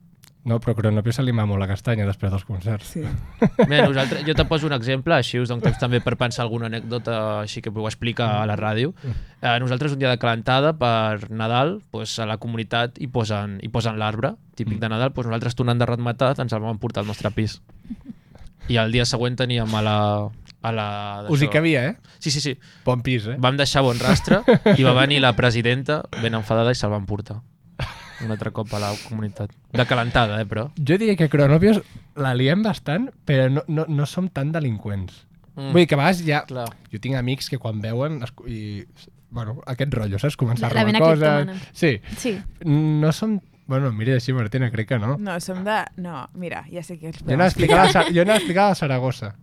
No, però Cronopio se li mamo la castanya després dels concerts.
Sí.
Mira, nosaltres, jo te poso un exemple, així us dono temps també per pensar alguna anècdota així que ho explica a la ràdio. Eh, nosaltres un dia de calentada per Nadal, pues, a la comunitat hi posen, hi posen l'arbre, típic de Nadal, pues, nosaltres tornant de ratmetat ens el vam portar al nostre pis. I el dia següent teníem a la... A la
Us hi
d'això.
cabia, eh?
Sí, sí, sí.
Bon pis, eh?
Vam deixar bon rastre i va venir la presidenta ben enfadada i se'l van portar. Un altre cop a la comunitat. De calentada, eh, però.
Jo diria que Cronopios la liem bastant, però no, no, no som tan delinqüents.
Mm.
Mm. Vull dir que a vegades ja...
Clar.
Jo tinc amics que quan veuen... Es, i, bueno, aquest rotllo, saps? Començar a
La
robar
vena
coses...
criptomana.
Sí.
Sí.
No som... Bueno, mira així, Martina, crec que no.
No, som de... No, mira, ja sé que els
Jo anava a explicar la, Sa- jo anava a explicar la Saragossa.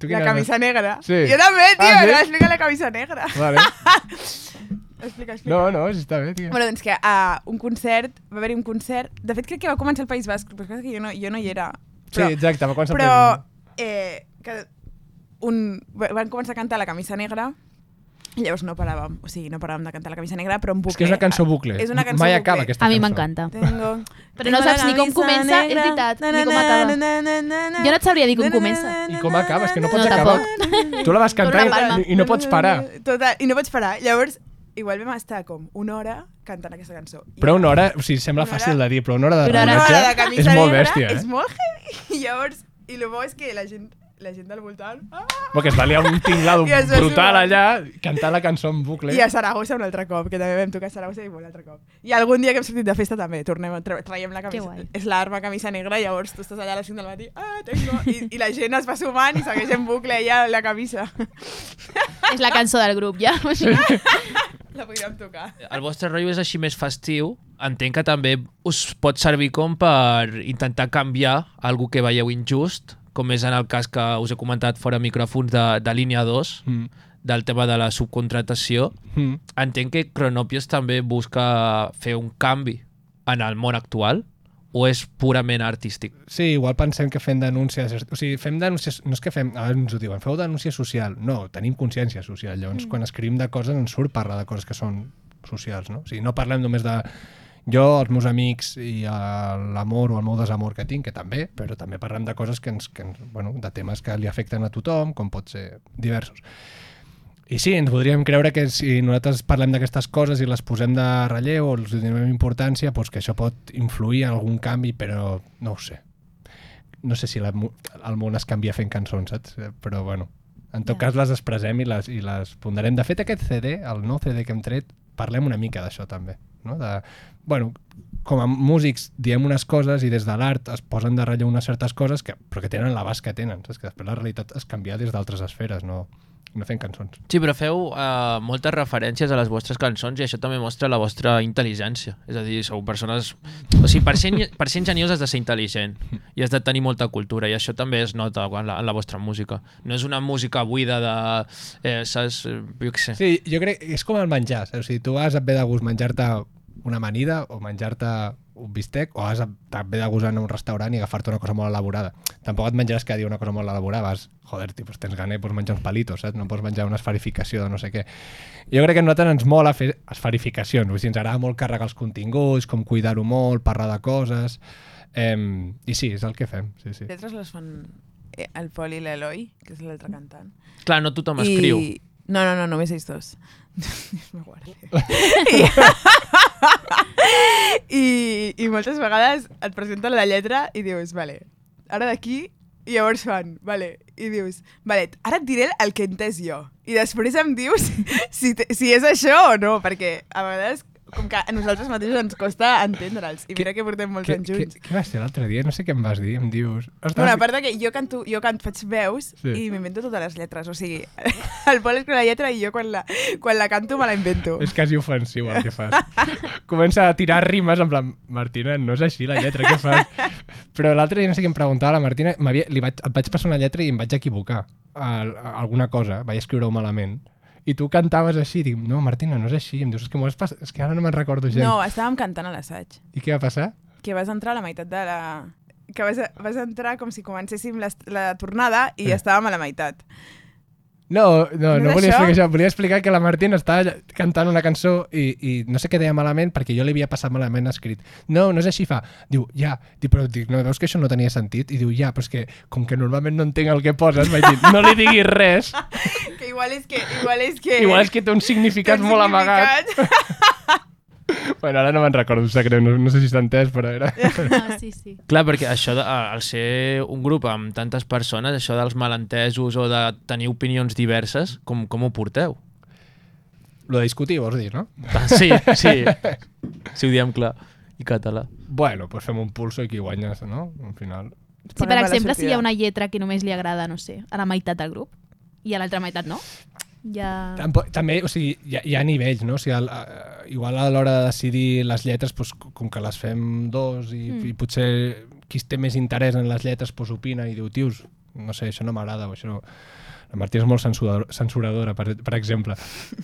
Tu
La
quina-
camisa negra.
Sí.
Jo també, tio,
Ah,
ah,
sí?
no explica la camisa negra.
Vale.
explica, explica.
No, no, sí, està bé, tia.
Bueno, doncs que a un concert, va haver-hi un concert, de fet crec que va començar el País Basc, però crec que jo no, jo no hi era.
Sí, exacte, va començar el
però,
País
eh, que un, van començar a cantar la camisa negra, i llavors no paràvem, o sigui, no paràvem de cantar la camisa negra, però en bucle.
És que és una cançó bucle.
És una cançó
Mai
bucle.
acaba aquesta
A mi
cançó.
m'encanta.
Tengo...
Però no saps ni com comença, és veritat, ni com acaba. Jo no et sabria dir com comença.
I com acaba? És que no pots
No,
acabar.
tampoc.
Tu la vas cantar
Una palma.
i, i no pots parar.
Total, i no pots parar. Llavors, igual vam estar com una hora cantant aquesta cançó. I
Però una hora, o sigui, sembla
Una hora-
fàcil de dir, però una hora de
una hora
rellotge
de camisa
és molt
negra
bèstia,
És
eh?
molt heavy. I llavors, i el bo és que la gent, la gent del voltant... Ah!
Perquè es va liar un tinglado
I es va
brutal
sumar.
allà, cantar la cançó en bucle.
I a Saragossa un altre cop, que també vam tocar a Saragossa i un altre cop. I algun dia que hem sortit de festa també, tornem, a- tra traiem la
Que
camisa,
guai.
és l'arma camisa negra, i llavors tu estàs allà a les 5 del matí, ah, tengo, i, i la gent es va sumant i segueix en bucle ja la camisa.
És la cançó del grup, ja.
La podríem tocar.
El vostre rotllo és així més festiu. Entenc que també us pot servir com per intentar canviar algú que veieu injust, com és en el cas que us he comentat fora micròfons de, de línia 2,
Mm.
del tema de la subcontratació.
Mm.
Entenc que Cronopios també busca fer un canvi en el món actual o és purament artístic?
Sí, igual pensem que fem denúncies... O sigui, fem denúncies... No és que fem... Ara ens ho diuen, feu denúncia social. No, tenim consciència social. Llavors,
Mm.
quan escrivim de coses, ens surt parlar de coses que són socials, no? O sigui, no parlem només de jo, els meus amics i eh, l'amor o el meu desamor que tinc, que també, però també parlem de coses que ens, que ens, bueno, de temes que li afecten a tothom, com pot ser diversos. I sí, ens podríem creure que si nosaltres parlem d'aquestes coses i les posem de relleu o els donem importància, doncs que això pot influir en algun canvi, però no ho sé. No sé si la, mu- el món es canvia fent cançons, saps? Eh, Però bueno, en tot cas les expressem i les, i les ponderem. De fet, aquest CD, el nou CD que hem tret, parlem una mica d'això també. No? De, bueno, com a músics diem unes coses i des de l'art es posen de relleu unes certes coses que, però que tenen l'abast que tenen. Saps? Que després la realitat es canvia des d'altres esferes, no, no fent cançons.
Sí, però feu eh, moltes referències a les vostres cançons i això també mostra la vostra intel·ligència. És a dir, sou persones... O sigui, per ser, per ser enginyós has de ser intel·ligent i has de tenir molta cultura i això també es nota en la, en la vostra música. No és una música buida de... Eh, saps? Eh, Jo què sé.
Sí, jo crec que és com el menjar. saps? O sigui, tu has et ve de gust menjar-te una amanida o menjar-te un bistec o has et ve de gust anar a un restaurant i agafar-te una cosa molt elaborada. Tampoc et menjaràs cada dia una cosa molt elaborada. Vas, joder, tio, pues tens gana i pots menjar uns palitos, saps? No pots menjar una esfarificació de no sé què. Jo crec que a nosaltres ens mola fer esfarificacions. O sigui, ens agrada molt carregar els continguts, com cuidar-ho molt, parlar de coses... Em, I sí, és el que fem. Sí, sí.
Lletres les fan eh, el Pol i l'Eloi, que és l'altre cantant.
Clar, no tothom escriu.
No, no, no, només ells dos. Dios me guarde. I, I moltes vegades et presenten la lletra i dius, vale, ara d'aquí, i llavors fan, vale, i dius, vale, ara et diré el que he entès jo. I després em dius si, te- si és això o no, perquè a vegades com que a nosaltres mateixos ens costa entendre'ls. I mira que portem molts
Què,
anys
què,
junts.
què va ser l'altre dia? No sé què em vas dir, em dius... "Ostres,
Bueno, a part de que jo canto, jo canto, faig veus
Ah, Sí.
sí. i m'invento totes les lletres, o sigui, el Pol escriu la lletra i jo quan la, quan la canto me la invento.
És quasi ofensiu el que fas. Comença a tirar rimes en plan, Martina, no és així la lletra, què fas? Però l'altre dia no sé què em preguntava la Martina, m'havia- li vaig, et vaig passar una lletra i em vaig equivocar a, a alguna cosa, vaig escriure-ho malament. I tu cantaves així, dic, no, Martina, no és així. Em dius, és que, m'ho has pas... és que ara no me'n recordo gens.
No, estàvem cantant a l'assaig,
I què va passar?
que vas entrar a la meitat de la... que vas, vas entrar com si comencéssim la, la tornada i
Sí.
sí. estàvem a la meitat.
No, no,
No
no
és
volia
això?
explicar això. Volia explicar que la Martina estava ll- cantant una cançó i, i no sé què deia malament perquè jo li havia passat malament escrit. No, no és així, fa. Diu, ja. Diu, però dic, no, veus que això no tenia sentit? I diu, ja, però és que com que normalment no entenc el que poses, vaig dir, no li diguis res.
Que igual és que... Igual és que...
Igual és que té un significat
Eh. té un
molt
significat.
Bueno, ara no me'n recordo, em sap greu, no, no sé si s'ha entès, però era...
Ah,
No, sí, sí.
Clar, perquè això, de, al ser un grup amb tantes persones, això dels malentesos o de tenir opinions diverses, com, com ho porteu?
Lo de discutir, vols dir, no?
Ah, Sí, sí. Si ho diem clar i català.
Bueno, pues fem un pulso i qui guanyes, no? Al final.
Sí, per exemple, si hi ha una lletra que només li agrada, no sé, a la meitat del grup i a l'altra meitat no, ja...
Tampoc, també, o sigui, hi ha, hi ha nivells, no? O sigui, al, a, igual a l'hora de decidir les lletres, doncs, com que les fem dos i,
Mm.
mm. i potser qui té més interès en les lletres doncs, opina i diu, tios, no sé, això no m'agrada o això no... La Martí és molt censurador, censuradora, per, per exemple.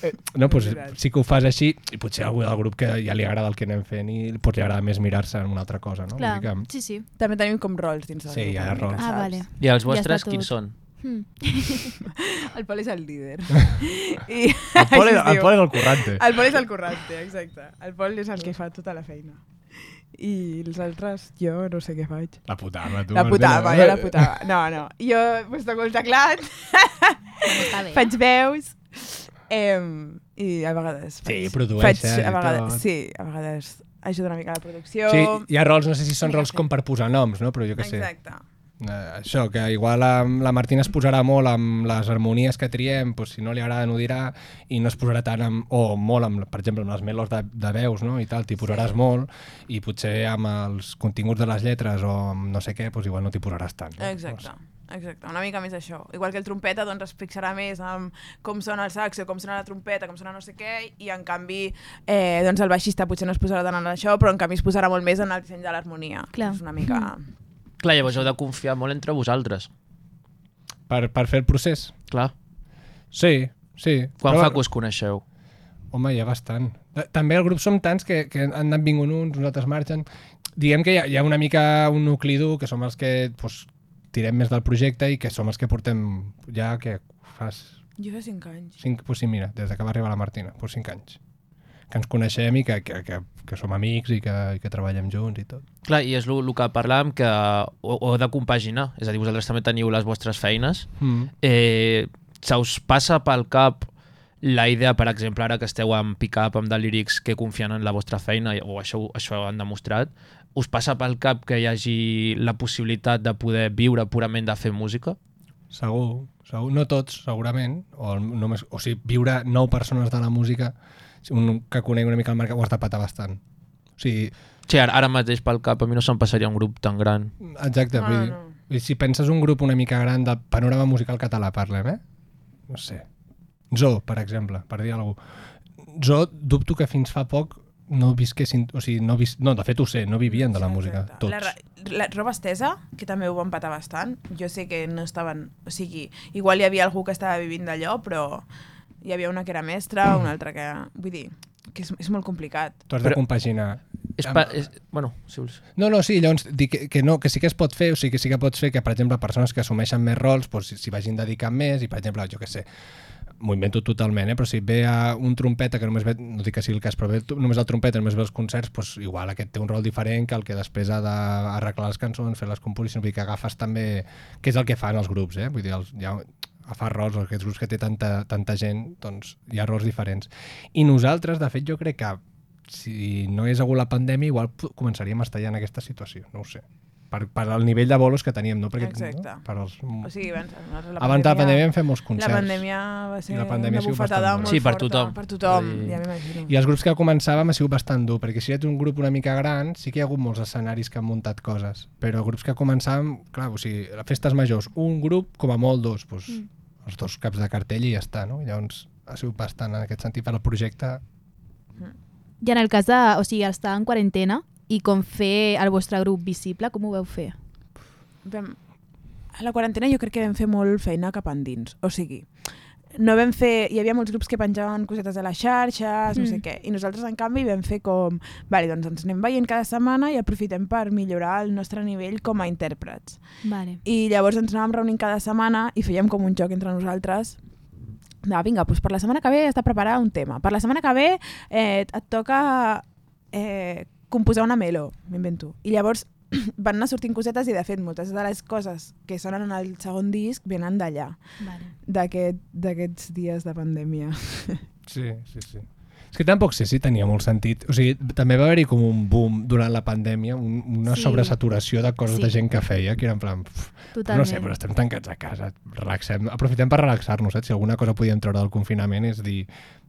Eh, no, doncs, sí que ho fas així i potser a algú del grup que ja li agrada el que anem fent i doncs, li agrada més mirar-se en una altra cosa, no?
Clar,
Vull dir que...
sí, sí.
També tenim com rols dins del
Sí,
grup,
hi ha
una mica,
rols.
Ah,
saps?
vale.
I els
Ja
vostres
està tot.
quins són?
Hmm.
El Pol és el líder. I,
El Pol
així
és-
es
el
diu.
Pol és el currante.
El Pol és el currante, exacte. El Pol és el que fa tota la feina. I els altres, jo no sé què faig.
La putava, tu.
La putava,
Martina.
jo la putava. No, no. Jo pues, toco el teclat,
bé.
faig veus, em, i a vegades faig...
Sí, produeixes
faig,
i
a vegades,
tot.
sí, a vegades ajudo una mica a la producció.
Sí, hi ha rols, no sé si són rols com per posar noms, no? Però jo què sé.
Exacte.
Eh, això, que igual am- la Martina es posarà molt amb les harmonies que triem, doncs si no li agrada no ho dirà, i no es posarà tant amb, o molt amb, per exemple, amb les melos de, de veus, no? I tal, t'hi posaràs molt, i potser amb els continguts de les lletres o amb no sé què, doncs igual no t'hi posaràs tant. No?
Exacte. Exacte, una mica més això. Igual que el trompeta, doncs es fixarà més en com sona el saxo, com sona la trompeta, com sona no sé què, i en canvi eh, doncs el baixista potser no es posarà tant en això, però en canvi es posarà molt més en el disseny de l'harmonia.
Clar.
És una mica...
Clar, llavors heu de confiar molt entre vosaltres.
Per, per fer el procés.
Clar.
Sí, sí.
Quan
Però
fa
bueno,
que us coneixeu?
Home, ja bastant. Ta- També el grup som tants que, que han anat vingut uns, uns altres marxen. Diguem que hi ha, hi ha una mica un nucli dur, que som els que pues, tirem més del projecte i que som els que portem ja que fas
Jo fa 5 anys.
cinc, pues sí, mira, des de que va arribar la Martina, pues cinc anys. Que ens coneixem i que, que, que, que som amics i que, i que treballem junts i tot.
Clar, i és el que parlàvem, que ho, ho heu de compaginar. És a dir, vosaltres també teniu les vostres feines.
Mm.
Eh, se us passa pel cap la idea, per exemple, ara que esteu en pick-up amb delírics que confien en la vostra feina, o això, això ho han demostrat, us passa pel cap que hi hagi la possibilitat de poder viure purament de fer música?
Segur, segur. No tots, segurament. O, el- només, o sigui, viure nou persones de la música, si un que conegui una mica el mercat, ho has de patar bastant. O sigui,
Sí, ara, ara mateix pel cap a mi no se'm passaria un grup tan gran.
exacte.
Ah,
Ah, vull, dir, vull dir, si penses un grup una mica gran del panorama musical català, parlem, eh? No sé. Zo, per exemple, per dir alguna cosa. Zo, dubto que fins fa poc no visquessin... O sigui, no, vis, no de fet ho sé, no vivien de la música,
La,
tots.
ra- la roba estesa, que també ho van patar bastant, jo sé que no estaven... O sigui, igual hi havia algú que estava vivint d'allò, però hi havia una que era mestra, una altra que... Vull dir, que és, és molt complicat.
Tu has de compaginar.
És,
Amb-
pa, és, bueno, si vols...
No, no, sí, llavors dic que, que no, que sí que es pot fer, o sigui que sí que pots fer que, per exemple, persones que assumeixen més rols doncs, s'hi vagin dedicant més i, per exemple, jo que sé, m'ho invento totalment, eh? però si ve a un trompeta que només ve, no dic que sigui el cas, però ve tu- només el trompeta, només ve els concerts, doncs igual aquest té un rol diferent que el que després ha d'arreglar les cançons, fer les composicions, vull dir que agafes també, que és el que fan els grups, eh? vull dir, els, hi ha, agafar rols, aquests grups que té tanta, tanta gent, doncs hi ha rols diferents. I nosaltres, de fet, jo crec que si no hi hagués hagut la pandèmia, igual pu- començaríem a estar ja en aquesta situació, no ho sé. Per, per al nivell de bolos que teníem, no? Perquè,
Exacte.
No? Per els...
O sigui, abans, abans,
Abans de la pandèmia vam fer molts concerts.
La pandèmia va ser
I la pandèmia ha
una
sigut
bufetada
bastant
molt
dura. Sí, per
forta.
tothom.
Per tothom,
Vull dir-
ja m'imagino.
I els grups que començàvem ha sigut bastant dur, perquè si ja ets un grup una mica gran, sí que hi ha hagut molts escenaris que han muntat coses, però grups que començàvem, clar, o sigui, a festes majors, un grup, com a molt dos, doncs,
Mm.
els dos caps de cartell i ja està, no? Llavors ha sigut bastant en aquest sentit per al projecte.
I en el cas de... O sigui, estar en quarantena i com fer el vostre grup visible, com ho veu fer?
vam, a la quarantena jo crec que vam fer molt feina cap endins. O sigui, no vam fer... Hi havia molts grups que penjaven cosetes a les xarxes, mm. no sé
Mm.
què. I nosaltres, en canvi, vam fer com... Vale, doncs ens anem veient cada setmana i aprofitem per millorar el nostre nivell com a intèrprets.
Vale.
I llavors ens anàvem reunint cada setmana i fèiem com un joc entre nosaltres de, vinga, doncs per la setmana que ve has de preparar un tema. Per la setmana que ve eh, et toca eh, composar una melo, m'invento. I llavors van anar sortint cosetes i, de fet, moltes de les coses que sonen en el segon disc venen d'allà,
Vale.
d'aquest- d'aquests dies de pandèmia.
Sí, sí, sí. És que tampoc sé si tenia molt sentit. O sigui, també va haver-hi com un boom durant la pandèmia, un, una
Sí.
sí. sobresaturació de coses
Sí.
sí. de gent que feia, que era en plan... Pf,
Totalment.
no sé, però estem tancats a casa, relaxem, aprofitem per relaxar-nos, saps? Si alguna cosa podíem treure del confinament és dir,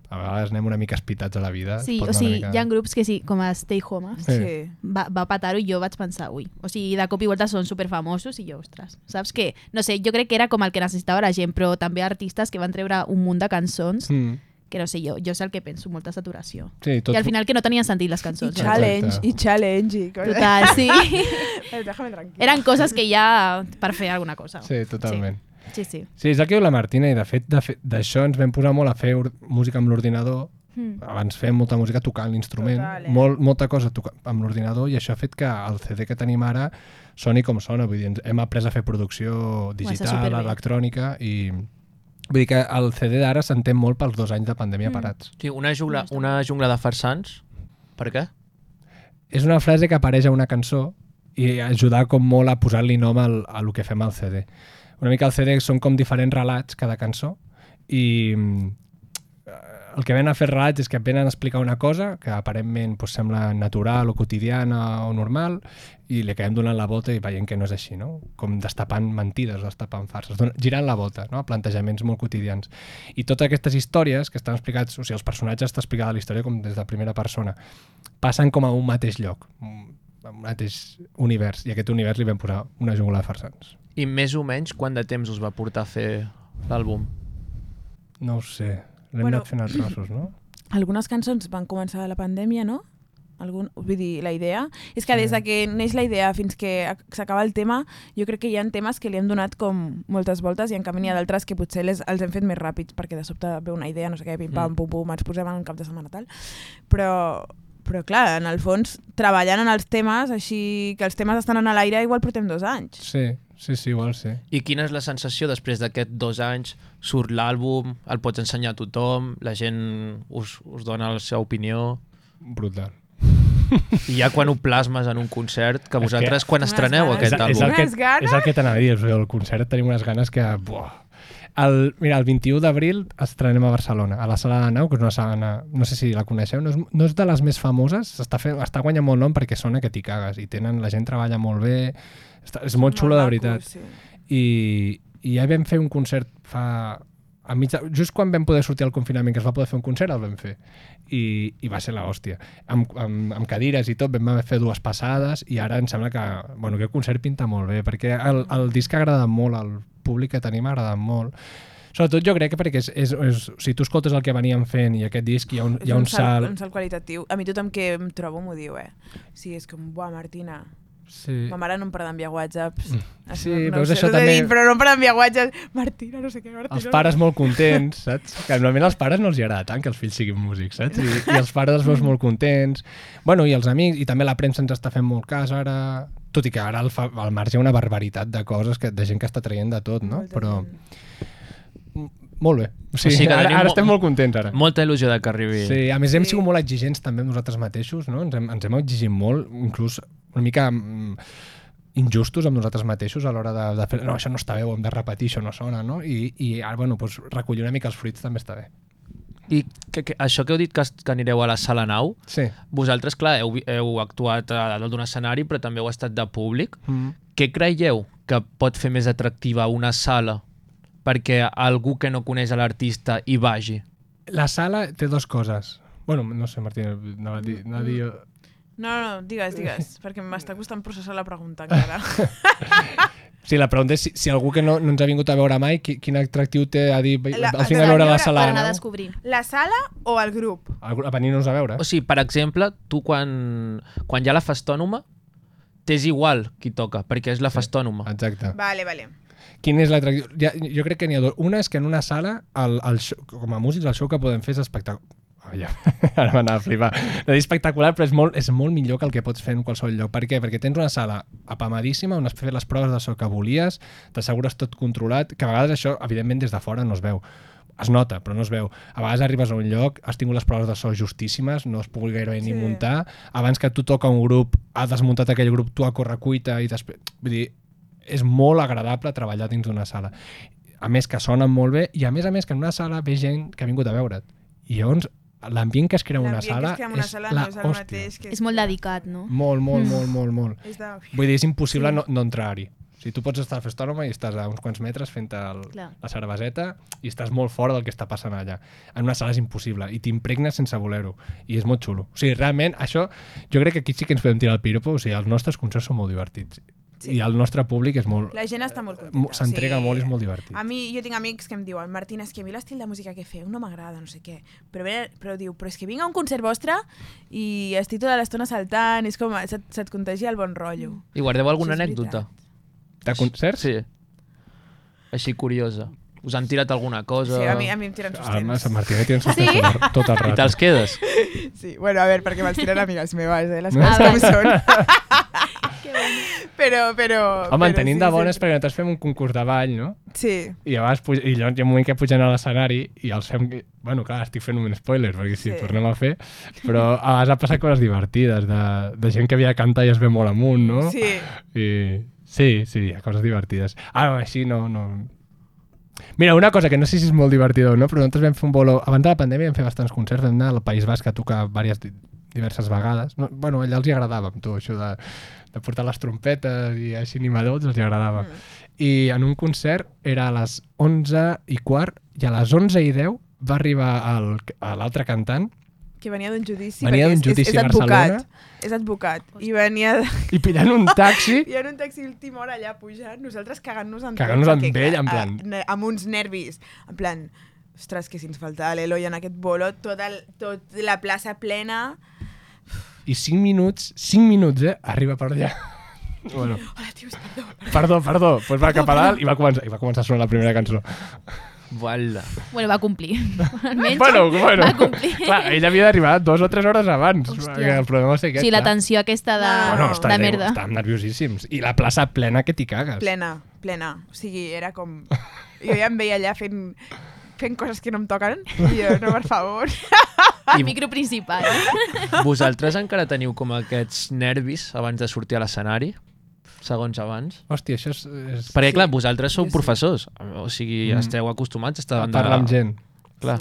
a vegades anem una mica espitats a la vida.
Sí,
es pot
o
anar
sigui,
una
hi ha grups que sí, com a Stay Home,
Sí. Sí.
va, va patar-ho i jo vaig pensar, ui, o sigui, de cop i volta són superfamosos i jo, ostres, saps què? No sé, jo crec que era com el que necessitava la gent, però també artistes que van treure un munt de cançons
Mm.
que no sé jo, jo és el que penso, molta saturació.
Sí, tot-
I al final que no tenien sentit les cançons.
I challenge, Exacte. i challenge. i coses.
Total, sí.
Eh, Déjame tranquil.
Eren coses que ja per fer alguna cosa.
Sí, totalment.
Sí, sí.
Sí, és el que diu la Martina i de fet de fe- d'això ens vam posar molt a fer or- música amb l'ordinador
Mm.
abans fèiem molta música tocant l'instrument eh? molt, molta cosa toca amb l'ordinador i això ha fet que el CD que tenim ara soni com sona, vull dir, ens- hem après a fer producció digital,
superbé.
electrònica i vull dir que el CD d'ara s'entén molt pels dos anys de pandèmia
Mm.
mm. parats
Sí, una jungla, una jungla de farsans. Per què?
és una frase que apareix a una cançó i ajudar com molt a posar-li nom al, a lo que fem al CD. Una mica al CD són com diferents relats cada cançó i mm, el que venen a fer relats és que et venen a explicar una cosa que aparentment doncs, sembla natural o quotidiana o normal i li acabem donant la volta i veiem que no és així, no? Com destapant mentides, destapant farses, don- girant la volta, no? A plantejaments molt quotidians. I totes aquestes històries que estan explicats, o sigui, els personatges està explicada la història com des de primera persona, passen com a un mateix lloc, un un mateix univers, i a aquest univers li vam posar una jungla de farsans.
I més o menys quant de temps us va portar a fer l'àlbum?
No ho sé, l'hem
Bueno,
bueno, anat fent a trossos, no?
algunes cançons van començar de la pandèmia, no? Algun, vull dir, la idea. És que des de que neix la idea fins que ac- s'acaba el tema, jo crec que hi ha temes que li hem donat com moltes voltes i en canvi n'hi ha
Mm.
d'altres que potser les, els hem fet més ràpids perquè de sobte ve una idea, no sé què, pim,
Mm.
pam, pum, pum, ens posem en un cap de setmana tal. Però, però clar, en el fons, treballant en els temes, així que els temes estan en l'aire, igual portem dos anys.
Sí, sí, sí, igual sí.
I quina és la sensació després d'aquests dos anys? Surt l'àlbum, el pots ensenyar a tothom, la gent us, us dona la seva opinió...
Brutal.
I ja quan ho plasmes en un concert, que vosaltres quan estreneu aquest
Ah, és,
àlbum...
És el que, és el que t'anava a dir, o sigui, el concert tenim unes ganes que... Buah. El, mira, el 21 d'abril estrenem a Barcelona, a la Sala de la Nau, que és una sala, no sé si la coneixeu, no és, no és de les més famoses, està, fent, està guanyant molt nom perquè sona que t'hi cagues, i tenen, la gent treballa molt bé, està, és molt xula, de veritat.
sí.
I, i ja vam fer un concert fa a mig de, just quan vam poder sortir al confinament que es va poder fer un concert, el vam fer i, i va ser la hòstia amb, amb, amb cadires i tot, vam haver fer dues passades i ara em sembla que bueno, aquest concert pinta molt bé, perquè el, el disc ha agradat molt, el públic que tenim ha agradat molt Sobretot jo crec que perquè és, és, és, si tu escoltes el que veníem fent i aquest disc hi ha un, hi ha un salt... doncs.
un salt qualitatiu. A mi tothom que em trobo m'ho diu, eh? Sí, és com, buah, Martina,
Sí. Mm.
ma mare no em para d'enviar whatsapps.
Sí,
no,
veus,
sé,
això
no sé
també-
Dir, però no em para d'enviar whatsapps. Martina, no sé què, Martina.
els
no
pares
sé-
molt contents, saps? Que normalment als pares no els hi agrada tant que els fills siguin músics, saps? I, i els pares els veus molt contents. Bueno, i els amics, i també la premsa ens està fent molt cas ara, tot i que ara al, fa, al marge hi ha una barbaritat de coses, que, de gent que està traient de tot, no? Però... M- Molt bé. O sigui,
que
ara,
tenim
ara
mo-
estem molt contents, ara.
Molta il·lusió de que arribi.
Sí, a més hem sigut molt exigents també amb nosaltres mateixos, no? Ens hem, ens hem exigit molt, inclús una mica mm, injustos amb nosaltres mateixos a l'hora de, de fer, no, això no està bé, ho hem de repetir, això no sona, no? I, i ara, bueno, doncs, recollir una mica els fruits també està bé.
I que, que, això que heu dit que, es- que anireu a la sala nau,
sí.
vosaltres, clar, heu, vi- heu actuat a dalt d'un escenari, però també heu estat de públic.
Mm.
Què creieu que pot fer més atractiva una sala perquè algú que no coneix a l'artista hi vagi?
La sala té dues coses. Bueno, no sé, Martí, anava a dir... Anava a dir
No, no, no, digues, digues, perquè m'està costant processar la pregunta encara.
Sí, la pregunta és si, si algú que no, no ens ha vingut a veure mai, qui, quin atractiu té a dir...
La-
La, al final a veure la sala, no?
descobrir. La sala o el grup?
A venir-nos a veure.
O sigui, per exemple, tu quan, quan hi ha la festònoma, t'és igual qui toca, perquè és la festònoma.
Exacte.
Vale, vale.
Quin és l'atractiu? Ja, jo crec que n'hi ha dos. Una és que en una sala, el, el show, com a músics, el show que podem fer és espectacular. Oh, ja. Ara m'anava a flipar. No dir espectacular, però és molt, és molt millor que el que pots fer en qualsevol lloc. Per què? Perquè tens una sala apamadíssima on has fet les proves de so que volies, t'assegures tot controlat, que a vegades això, evidentment, des de fora no es veu. Es nota, però no es veu. A vegades arribes a un lloc, has tingut les proves de so justíssimes, no has pogut gairebé ni
Sí.
muntar. Abans que tu toca un grup, has desmuntat aquell grup, tu a correcuita i després... Vull dir, és molt agradable treballar dins d'una sala. A més que sonen molt bé i a més a més que en una sala ve gent que ha vingut a veure't. I llavors l'ambient que es crea en una
L'ambient que
sala,
es crea en una
és
sala
la
no és el
hòstia.
Mateix que...
És molt dedicat, no?
Molt, molt,
Mm.
molt, molt, molt.
És de-
Vull dir, és impossible no, no entrar-hi. O sigui, tu pots estar al festònoma i estàs a uns quants metres fent el,
Clar.
la cerveseta i estàs molt fora del que està passant allà. En una sala és impossible i t'impregnes sense voler-ho. I és molt xulo. O sigui, realment, això, jo crec que aquí sí que ens podem tirar el piropo. O sigui, els nostres concerts són molt divertits. Sí. I el nostre públic és molt...
La gent està molt
mo-
contenta.
eh, S'entrega sí. molt, és molt divertit.
A mi, jo tinc amics que em diuen, Martina, és que a mi l'estil de música que feu no m'agrada, no sé què. Però, ve, però diu, però és que vinc a un concert vostre i estic tota l'estona saltant, és com, eh, se't, se't contagia el bon rotllo.
I guardeu alguna
Això és
anècdota?
De concerts?
Sí. Així curiosa. Us han tirat alguna cosa?
Sí, a mi- a mi em tiren sostens.
Home, Sant Martí, que tens
Sí?
sostens tot el- tot el rato.
I te'ls quedes?
Sí, bueno, a ver, perquè me'ls tiren amigues meves, eh, les
Ah,
coses com
vale.
són. però, però...
Home, en
però
tenim
sí,
de
sí.
bones perquè nosaltres fem un concurs de ball, no?
Sí.
I llavors, puja, i llavors hi ha un moment que pugen a l'escenari i els fem... Bueno, clar, estic fent un spoiler, perquè si
Sí.
sí. tornem a fer... Però a vegades ha passat coses divertides, de, de gent que havia de cantar i es ve molt amunt, no?
Sí.
I, sí, sí, hi ha coses divertides. Ara, així no, no... Mira, una cosa que no sé si és molt divertida o no, però nosaltres vam fer un bolo... Abans de la pandèmia vam fer bastants concerts, vam anar al País Basc a tocar diverses, diverses vegades. No, bueno, allà els hi agradava, amb tu, això de, de portar les trompetes i així animadors, els hi agradava. Mm. I en un concert era a les 11 i quart, i a les 11 i 10 va arribar el- a l'altre cantant
Que venia d'un judici,
Venia
perquè
d'un
és- és,
judici
és
a
advocat.
Barcelona.
És advocat. I venia... De...
i pillant un taxi...
I en un taxi última hora allà pujant, nosaltres cagant-nos en
Cagant-nos
tots,
en
perquè,
ell, en
clar,
plan-
a- ne- amb uns nervis, en plan, ostres, que si ens faltava l'Eloi en aquest bolo, tot, el, tot la plaça plena...
I 5 minuts, 5 minuts, eh? Arriba per allà. bueno.
Hola, tios, perdó.
Perdó, perdó. Doncs pues va cap a dalt i va començar, i va començar a sonar la primera cançó.
Voilà.
Bueno, va complir. Almenys
Bueno, bueno.
va complir.
Clar, ell havia d'arribar dues o tres hores abans. Hòstia. El problema va ser aquest.
Sí, la
clar.
tensió aquesta de,
Bueno, està,
de merda.
Estàvem nerviosíssims. I la plaça plena que t'hi cagues.
Plena, plena. O sigui, era com... Jo ja em veia allà fent, fent coses que no em toquen, i jo, no, per favor.
I-
Micro principal.
Vosaltres encara teniu com aquests nervis abans de sortir a l'escenari? segons abans.
Hòstia, això és... és...
Perquè, clar, vosaltres sou
Sí, sí.
professors, o sigui,
Mm.
esteu acostumats a estar...
A
davant de-
parlar amb gent.
Clar.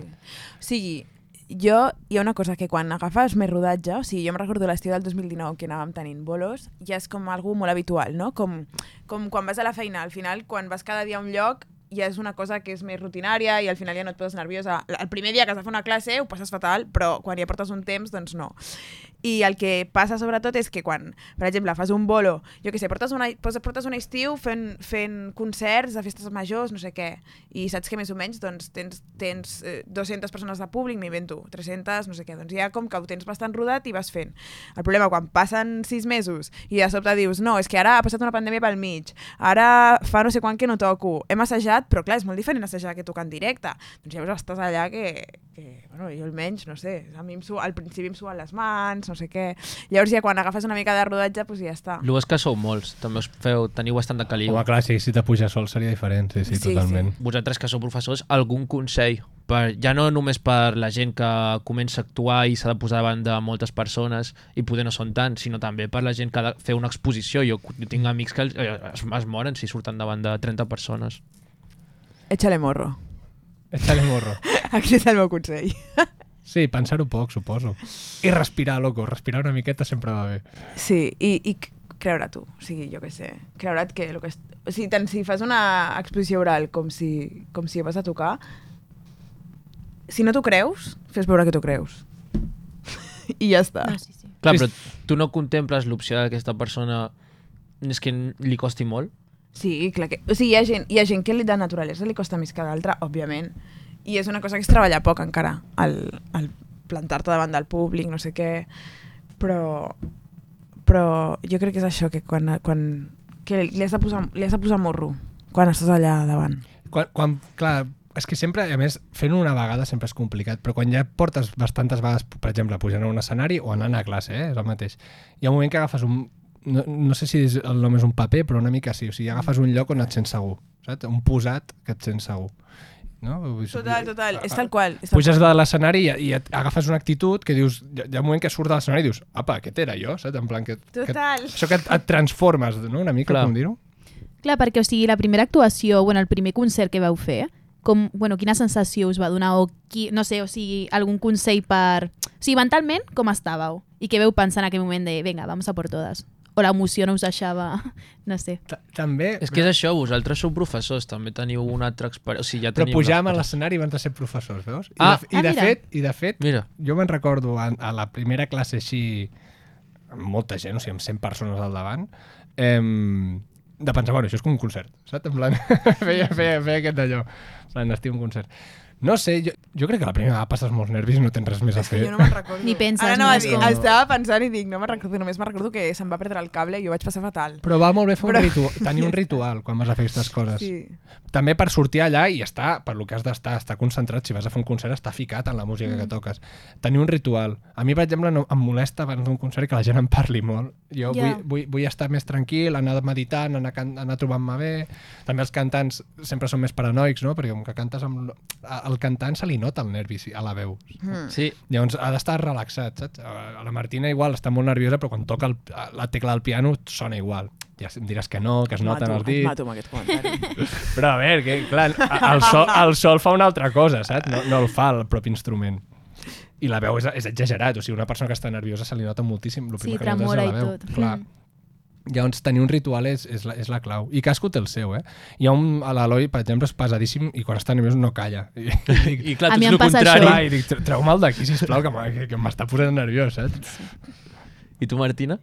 O sigui, jo, hi ha una cosa que quan agafes més rodatge, o sigui, jo em recordo l'estiu del 2019 que anàvem tenint bolos, ja és com algú molt habitual, no? Com, com quan vas a la feina, al final, quan vas cada dia a un lloc, ja és una cosa que és més rutinària i al final ja no et poses nerviosa. El primer dia que has de fer una classe ho passes fatal, però quan ja portes un temps, doncs no. I el que passa sobretot és que quan, per exemple, fas un bolo, jo que sé, portes, una, pos- portes un estiu fent, fent concerts de festes majors, no sé què, i saps que més o menys doncs, tens, tens eh, 200 persones de públic, m'invento, 300, no sé què, doncs ja com que ho tens bastant rodat i vas fent. El problema quan passen 6 mesos i de sobte dius, no, és que ara ha passat una pandèmia pel mig, ara fa no sé quan que no toco, hem assajat, però clar, és molt diferent assajar que tocar en directe. Doncs llavors estàs allà que, que bueno, jo almenys, no sé, a mi em su al principi em suen les mans, no sé què. Llavors ja quan agafes una mica de rodatge, doncs ja està.
El bo és que sou molts, també us feu, teniu bastant de caliu.
Home, clar, si, si te puja sol seria diferent, sí, sí,
Sí, sí.
totalment.
Vosaltres que sou professors, algun consell? Per, ja no només per la gent que comença a actuar i s'ha de posar davant de moltes persones i poder no són tant, sinó també per la gent que ha de fer una exposició. Jo, jo tinc amics que els- eh, es, es moren si surten davant de 30 persones.
Échale morro.
Échale morro.
Aquest és el meu consell.
Sí, pensar-ho poc, suposo. I respirar, loco, respirar una miqueta sempre va bé.
Sí, i, i c- creure tu, o sigui, jo què sé, creure't que... Lo que est... o sigui, tant si fas una exposició oral com si, com si vas a tocar, si no t'ho creus, fes veure que t'ho creus. I ja està. No, sí, sí.
Clar, però tu no contemples l'opció d'aquesta persona és que li costi molt?
Sí, clar que... O sigui, hi ha gent, hi ha gent que li- de naturalesa li costa més que d'altra, òbviament. I és una cosa que és treballar poc encara, el, el plantar-te davant del públic, no sé què... Però, però jo crec que és això, que quan, quan que li has de posar, li has de posar morro quan estàs allà davant.
Quan, quan, clar, és que sempre, a més, fent una vegada sempre és complicat, però quan ja portes bastantes vegades, per exemple, pujant a un escenari o anant a classe, eh, és el mateix, hi ha un moment que agafes un... No, no sé si és el nom és un paper, però una mica sí. O sigui, agafes un lloc on et sents segur, saps? Un posat que et sents segur. No? Vull dir,
Total, total, és tal qual. És tal
Puges
qual.
de l'escenari i, i et agafes una actitud que dius... Hi ha- hi ha un moment que surt de l'escenari i dius apa, aquest era jo, saps? En plan que...
Total.
Que, això que et, et transformes, no? Una mica,
Clar.
com dir-ho.
Clar, perquè o sigui, la primera actuació, bueno, el primer concert que vau fer, com, bueno, quina sensació us va donar o qui, no sé, o sigui, algun consell per... O sigui, mentalment, com estàveu? I què veu pensar en aquell moment de, venga, vamos a por todas? O l'emoció no us deixava, no sé.
També...
És que és això, vosaltres sou professors, també teniu una altra experiència. O sigui, ja
Però
teniu
pujàvem a
l'experiència.
l'escenari abans de ser professors, veus? I,
Ah.
de, i
Ah,
de
mira.
fet, i de fet
Mira.
jo me'n recordo a, a la primera classe així, amb molta gent, o sigui, amb 100 persones al davant, em, de pensar, bueno, això és com un concert, saps? En plan, feia, feia, feia aquest d'allò. En plan, estic en un concert. No sé, jo, jo crec que la primera vegada passes molts nervis i no tens res més a fer.
Jo no me'n recordo.
Ni penses,
Ara no,
només
no,
com-
estava pensant i dic, no me'n recordo, només me'n recordo que se'm va perdre el cable i ho vaig passar fatal.
Però va molt bé fer un
Però-
ritu tenir un ritual quan vas a fer aquestes coses.
Sí.
També per sortir allà i estar, per lo que has d'estar, estar concentrat, si vas a fer un concert, estar ficat en la música mm. que toques. Tenir un ritual. A mi, per exemple, no, em molesta abans d'un concert que la gent em parli molt. Jo
Ja.
yeah. vull, vull, vull estar més tranquil, anar meditant, anar, can- anar trobant-me bé. També els cantants sempre són més paranoics, no? Perquè com que cantes amb... a- Al cantant se li nota el nervi sí, a la veu.
Mm. Sí.
Llavors ha d'estar relaxat, saps? A la Martina igual està molt nerviosa, però quan toca el, la tecla del piano sona igual. Ja em diràs que no, que es noten els dits.
mato amb aquest comentari.
Però a veure, que, clar, el sol, el sol fa una altra cosa, saps? No, no el fa el propi instrument. I la veu és, és exagerat, o sigui, una persona que està nerviosa se li nota moltíssim. El
Sí,
primer que notes és la
tremola i
veu.
tot.
Clar.
Mm.
Llavors, tenir un ritual és, és, la, és la clau. I cadascú té el seu, eh? Hi ha un... a L'Eloi, per exemple, és pesadíssim i quan està nerviós no calla. I, dic,
I clar, A tu mi ets em el passa contrari. això.
Clar, I dic, "Tre- treu-me'l d'aquí, sisplau, que m'ha- que- que m'està posant nerviós, saps?
I tu, Martina?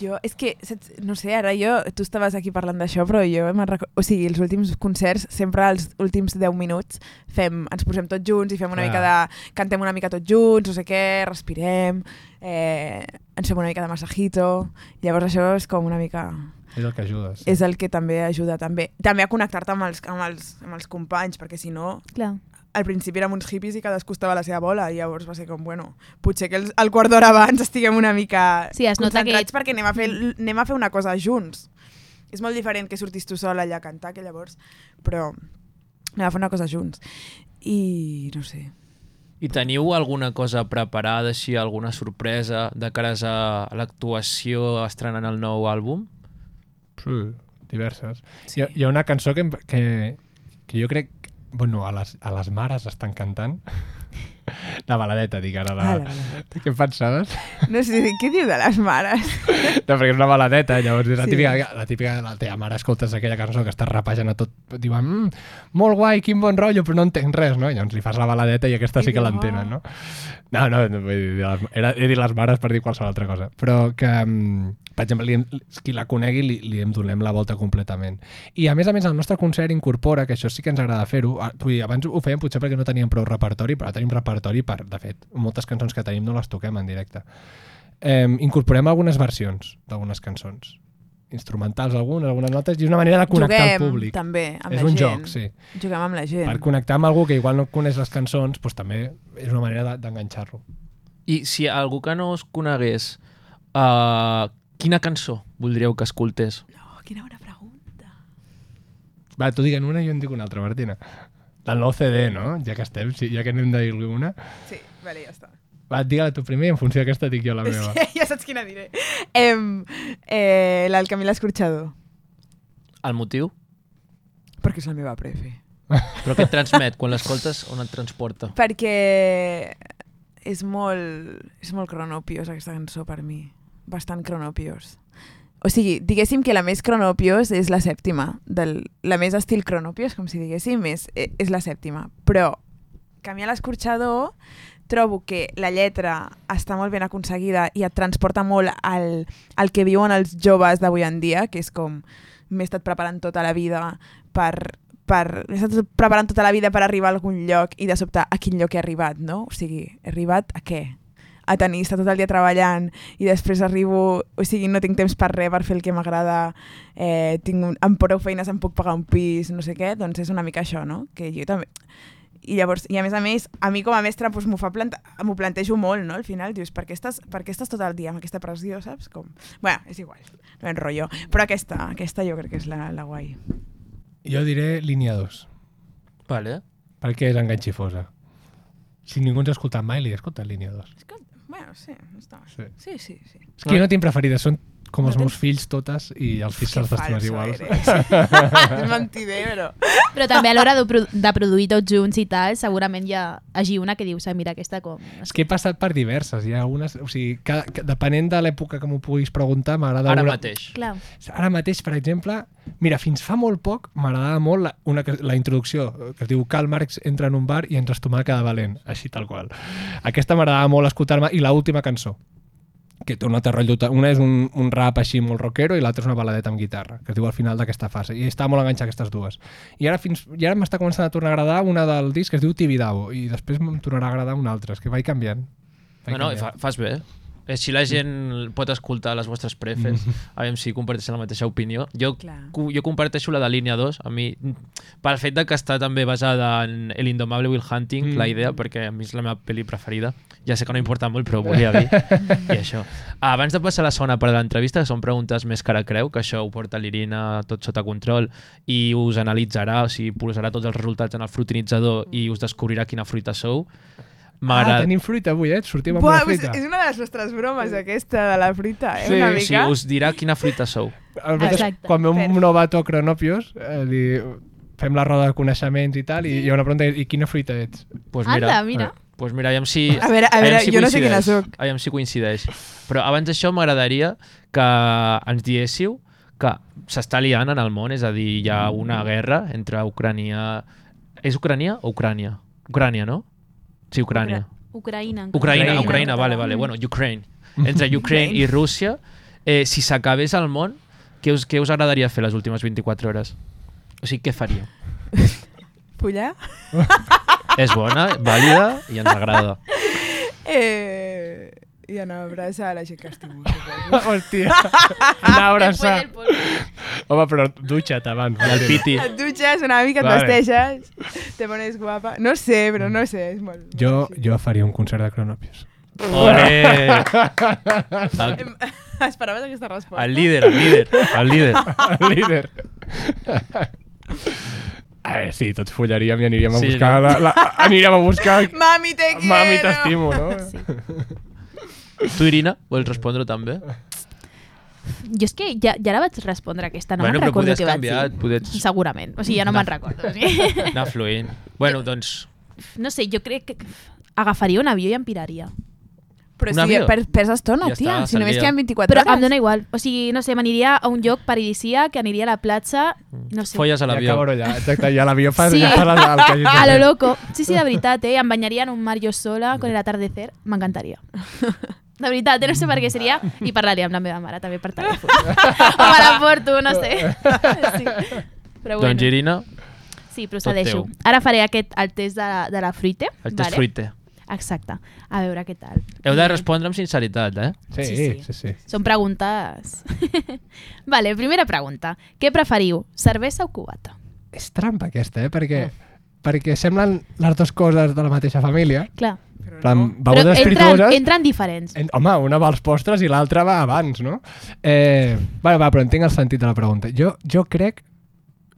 Jo, és que, saps, no sé, ara jo, tu estaves aquí parlant d'això, però jo me'n recordo... O sigui, els últims concerts, sempre els últims 10 minuts, fem, ens posem tots junts i fem una
Clar.
mica de... Cantem una mica tots junts, no sé què, respirem, eh, ens fem una mica de massajito... Llavors això és com una mica...
És el que ajuda. sí.
És el que també ajuda també també a connectar-te amb, els, amb, els, amb els companys, perquè si no...
Clar.
Al principi érem uns hippies i cadascú estava a la seva bola, i llavors va ser com, bueno, potser que el, el quart d'hora abans estiguem una mica
Sí, es nota que-
concentrats perquè anem a, fer, anem a fer una cosa junts. És molt diferent que sortis tu sola allà a cantar, que llavors... Però anem a fer una cosa junts. I no sé,
I teniu alguna cosa preparada, així, alguna sorpresa de cares a l'actuació estrenant el nou àlbum?
Sí, diverses. Sí. Hi, ha, hi ha una cançó que, em- que, que jo crec... Bueno, a les, a les mares estan cantant. La baladeta, dic ara. La...
Ah, la
baladeta. Què en pensaves?
No sé, què diu de les mares?
No, perquè és una baladeta, llavors és la
Sí.
típica, la típica de la teva mare, escoltes aquella cançó que estàs rapejant a tot, diuen, mm, molt guai, quin bon rotllo, però no entenc res, no? I llavors li fas la baladeta i aquesta
I
sí que
diu,
l'entenen, no? No, no, no vull dir, de les- era, he dit les mares per dir qualsevol altra cosa, però que, mm, per exemple, li, hem- qui la conegui li, li em donem la volta completament. I a més a més el nostre concert incorpora, que això sí que ens agrada fer-ho, a- vull dir, abans ho fèiem potser perquè no teníem prou repertori, però ara tenim repertori per, de fet, moltes cançons que tenim no les toquem en directe eh, incorporem algunes versions d'algunes cançons instrumentals algunes, algunes notes, i és una manera de connectar
Juguem,
al públic.
també, amb
és
la
un
gent.
joc, sí.
Juguem amb la gent.
Per connectar amb algú que igual no coneix les cançons, doncs també és una manera de- d'enganxar-lo.
I si algú que no us conegués, uh, quina cançó voldríeu que escoltés?
Va, tu diguen una i jo en dic una altra, Martina. De l'OCD, no? Ja que estem, sí, ja que anem de dir-li una.
Sí, vale, ja està.
Va, digue-la tu primer i en funció d'aquesta dic jo la meva.
ja saps quina diré. Em, eh, la del Camil Escorxador,
El motiu?
perquè és la meva prefe.
Però què et transmet? Quan l'escoltes, on et transporta?
Perquè és molt, és molt cronopios aquesta cançó per mi. Bastant cronopios. O sigui, diguéssim que la més cronopios és la sèptima. Del, la més estil cronopios, com si diguéssim, és, eh, és la sèptima. Però canviar l'escorxador trobo que la lletra està molt ben aconseguida i et transporta molt al, al que viuen els joves d'avui en dia, que és com m'he estat preparant tota la vida per, per, m'he estat preparant tota la vida per arribar a algun lloc i de sobte a quin lloc he arribat, no? O sigui, he arribat a què? a tenir, estar tot el dia treballant i després arribo, o sigui, no tinc temps per res, per fer el que m'agrada, eh, tinc un, amb prou feines em puc pagar un pis, no sé què, doncs és una mica això, no? Que jo també... I llavors, i a més a més, a mi com a mestra doncs, m'ho fa plante m'ho plantejo molt, no? Al final dius, per què, estàs, per què estàs tot el dia amb aquesta pressió, saps? Com... Bueno, és igual, no enrotllo. Però aquesta, aquesta jo crec que és la, la guai.
Jo diré línia 2,
Vale.
perquè és enganxifosa. Si ningú ens ha escoltat mai, li he escoltat línia 2.
Bueno, sí, no està mal.
Sí.
Sí, sí, sí.
És que jo no tinc preferides, són com
No
els meus fills totes i els fills se'ls estimes iguals.
és mentider, però...
Però també a l'hora de, pro de produir tots junts i tal, segurament hi ha, hagi una que dius, "Ah, mira, aquesta com...
És que he passat per diverses, hi ha unes... O sigui, cada, ca- depenent de l'època que m'ho puguis preguntar, m'agrada...
Ara
una...
mateix.
Clar.
Ara mateix, per exemple, mira, fins fa molt poc m'agradava molt la, una, que- la introducció eh, que es diu Karl Marx entra en un bar i ens estomaca de valent, així tal qual. Aquesta m'agradava molt escoltar-me i l'última cançó que té un altre rotllo, ta- una és un, un rap així molt rockero i l'altra és una baladeta amb guitarra que es diu al final d'aquesta fase, i està molt enganxat a aquestes dues i ara, fins, i ara m'està començant a tornar a agradar una del disc que es diu Tibidabo i després em tornarà a agradar una altra, és que vaig canviant
No, no, i fa, fas bé. Així la gent pot escoltar les vostres prefes,
Mm.
a veure si comparteixen la mateixa opinió. Jo, cu- jo comparteixo la de línia 2, a mi, pel fet de que està també basada en El indomable Will Hunting,
Mm.
la idea, perquè a mi és la meva pel·li preferida. Ja sé que no importa molt, però ho volia dir. I això. Abans de passar a la segona part de l'entrevista, que són preguntes més cara a creu, que això ho porta l'Irina tot sota control i us analitzarà, o sigui, posarà tots els resultats en el frutinitzador i us descobrirà quina fruita sou.
Ah,
M'agrada...
tenim fruita avui, eh? Sortim amb
Buah,
una
és,
fruita.
és una de les nostres bromes, aquesta, de la fruita, eh?
Sí,
una
sí,
mica.
us dirà quina fruita sou.
A Nosaltres,
Exacte.
quan veu un novato a Cronopios, eh, li fem la roda de coneixements i tal, i hi ha una pregunta, i quina fruita ets?
Pues mira, eh,
Anda, mira.
Pues mira, aviam si...
A veure, a
aviam
veure, jo no sé
coincideix.
quina sóc.
Aviam si coincideix. Però abans d'això m'agradaria que ens diéssiu que s'està liant en el món, és a dir, hi ha una guerra entre Ucrània... És Ucrània o Ucrània? Ucrània, no? Sí, Ucrània.
Ucraïna. encara.
Ucraïna, Ucraïna, Ucraïna vale, vale, bueno, Ukraine. Entre Ukraine i Rússia, eh, si s'acabés el món, què us, què us agradaria fer les últimes 24 hores? O sigui, què faríeu?
Follar?
És bona, vàlida i ens agrada.
Eh, I anar a abraçar a la gent que estimo. suposo.
Hòstia,
Ah,
anar a abraçar. Home, però dutxa't abans.
I el piti.
Et dutxes una mica, et
Vale.
vesteixes, te pones guapa. No sé, però no sé, és molt...
Jo, jo faria un concert de Cronopios.
Olé! El-
Em- Esperaves aquesta resposta?
El líder, el líder, el líder.
El líder. A veure, sí, tots follaríem i aniríem a
Sí,
buscar...
no?
La, la, aniríem a buscar...
Mami, te quiero!
Mami, t'estimo, no?
Tu, Irina, vols respondre també?
Jo és que ja, ja la vaig respondre aquesta, no
Bueno,
me'n
però
recordo
podies
què vaig
canviar,
dir.
podies-
Segurament, o sigui, ja no,
No.
me'n recordo. Sí.
Anar fluint. Bueno, doncs,
No sé, jo crec que agafaria un avió i em piraria.
Però Un si avió? per- perds estona, Ja tia, està, si només s'alvia. queden 24
Però
hores.
em dóna igual. O sigui, no sé, m'aniria a un lloc paradisíac, aniria a la platja, no sé.
folles a l'avió.
Ja cabró allà, exacte, ja l'avió fa,
Sí.
ja fa les alques. i
A
tot.
Ah, lo loco. Sí, sí, de veritat, eh? Em banyaria en un mar jo sola, con el atardecer. M'encantaria. De veritat, eh? no sé per què seria. I parlaria amb la meva mare, també, per telèfon. o me la porto, no sé. Sí. Però bueno.
Doncs, Irina,
Sí, però
tot
us la deixo.
teu.
Ara faré aquest, el test de, la- de la fruite.
El test fruite.
Exacte. A veure què tal.
heu de respondre amb sinceritat, eh?
Sí, Sí, sí. sí,
Són preguntes... vale, primera pregunta. Què preferiu, cervesa o cubata?
És trampa aquesta, eh? Perquè, perquè semblen les dues coses de la mateixa família.
Clar.
Però, no.
Però
begudes
entren,
espirituoses...
entren diferents.
En, home, una va als postres i l'altra va abans, no? Eh, bueno, va, però entenc el sentit de la pregunta. Jo, jo crec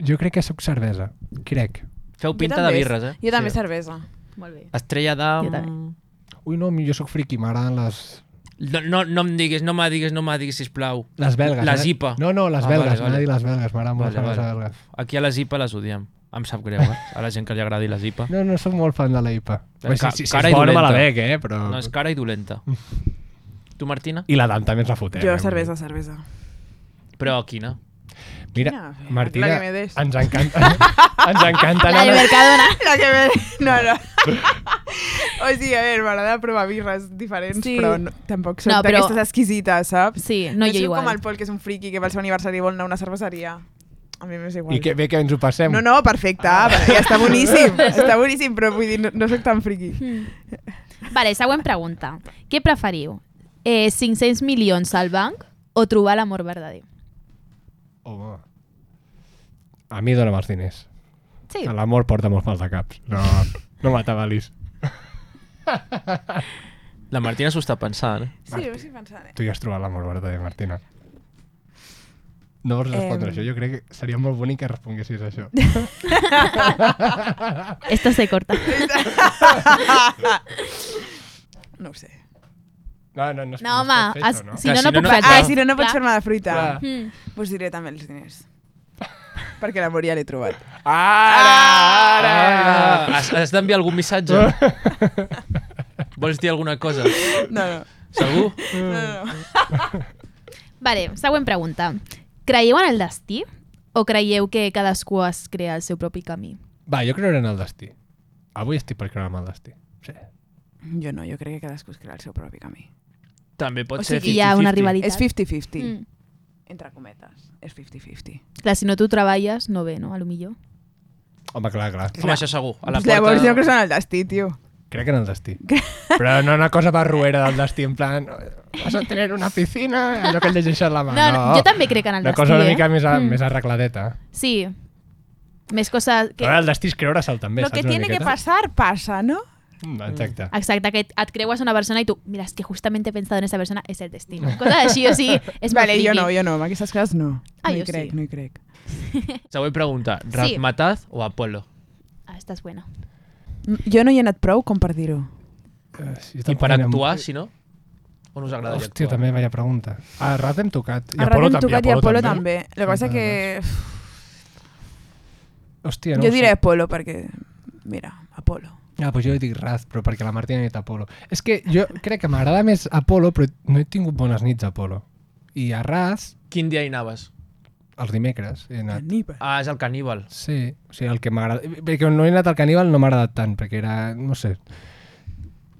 jo crec que sóc cervesa. Crec.
Feu
Jo
pinta de
també,
birres, eh?
Jo també cervesa.
Molt bé.
Estrella
Jo
d'am...
també.
Ui, no, jo sóc friqui, m'agraden les...
No, no, no em diguis, no me diguis, no me diguis, sisplau.
Les belgues,
Les
eh?
IPA.
No, no, les belgues, m'ha dit les belgues, m'agrada molt la cervesa belga.
Aquí a les IPA les odiem. Em sap greu, eh? A la gent que li agradi les IPA.
No, no sóc molt fan de la IPA. Bé,
Eh, Ca-
si, si, si
cara
és
i
bona, me la
dolenta.
bec, eh? Però...
Ah, No, és cara i dolenta. Tu, Martina?
I la Dan també ens la fotem.
Jo
eh?
cervesa, cervesa.
Però quina?
Mira,
Quina?
Martina,
La que me des.
ens encanta, ens encanta
La
anar...
de
a-
Mercadona. La que me... No, no. O sigui, a veure, m'agrada provar birres diferents, sí.
Sí.
però no, tampoc soc
No,
no,
però-
però... d'aquestes exquisites, saps?
Sí, no, jo
soc
igual.
com el Pol, que és un friqui, que pel seu aniversari vol anar a una cerveseria. A mi m'és igual.
I que bé que ens ho passem.
No, no, perfecte, ah. ja està boníssim, està boníssim, però vull dir, no, no soc tan friqui.
Mm. Vale, següent pregunta. Què preferiu? Eh, 500 milions al banc o trobar l'amor verdader?
Home. A mi dóna'm els diners.
Sí.
Que L'amor porta molts mals de caps. No, no m'atabalis.
La Martina s'ho està pensant.
Sí, ho estic pensant.
Tu ja has trobat l'amor verdader, Martina. No vols
Em.
respondre això. Jo crec que seria molt bonic que responguessis això.
Esta se corta.
Ah, No ho sé.
No, no, no.
No, home, es,
no?
si no, no puc
Ah,
fer
si no, no
Clar.
pots fer-me de fruita.
Clar. Mm.
Mm. Pues diré també els diners. Perquè l'amor ja l'he trobat.
Ara,
Ah, has has d'enviar algun missatge? Vols dir alguna cosa?
No, no.
Segur?
No, no.
Vale, següent pregunta. Creieu en el destí o creieu que cadascú es crea el seu propi camí?
Va, jo creuré en el destí. Avui estic per creure en el destí. Sí.
Mm. Jo no, jo crec que cadascú es crea el seu propi camí.
També pot
O
ser
sigui, hi ha una
50-50.
rivalitat. És 50-50.
Mm.
Entre cometes. És 50-50.
Clar, si no tu treballes, no ve, no? A lo millor.
Home, clar, clar.
Home, això segur. A la
Pues llavors
porta...
jo crec en el destí, tio.
Crec que en el destí. Però no una cosa barruera del destí, en plan... Vas a tenir una piscina, allò que llegeixes la mà.
No, no, jo també crec en el
Ah, Una
destí,
cosa una
eh?
mica més, a,
Mm.
més arregladeta.
Sí. Més coses...
Que... Però el destí és creure-se'l també,
Lo
saps
que
una
tiene que
miqueta?
pasar, pasa, ¿no?
Mm, Exacte.
Exacte, que et creues a una persona i tu, mira, és que justament he pensat en esa persona, és el destino. Coses així, o sigui, és molt
Vale, jo
friki.
no, jo no. amb Aquestes coses no.
Ah,
no hi
jo sí.
crec, no hi crec.
Següent pregunta. Ratmataz o Apolo?
Ah, estàs buena.
Mm, Jo no hi he anat prou com per dir-ho.
Eh,
I per actuar, si no? On us agradaria
Hòstia,
actuar?
també, vaya pregunta. A Rat hem tocat.
A Ràdio hem tocat i a Polo també. El que passa que...
Hòstia, no
jo
ho
diré
sé.
Apolo perquè... Mira, Apolo.
Ah, doncs jo dic Raz, però perquè la Martina ha dit Apolo. És que jo crec que m'agrada més Apolo, però no he tingut bones nits a Apolo. I a Raz,
Quin dia hi anaves?
els dimecres, he anat.
Ah, és el caníbal.
Sí, o sigui, el que m'agrada... Perquè no he anat al caníbal no m'ha agradat tant, perquè era... no sé.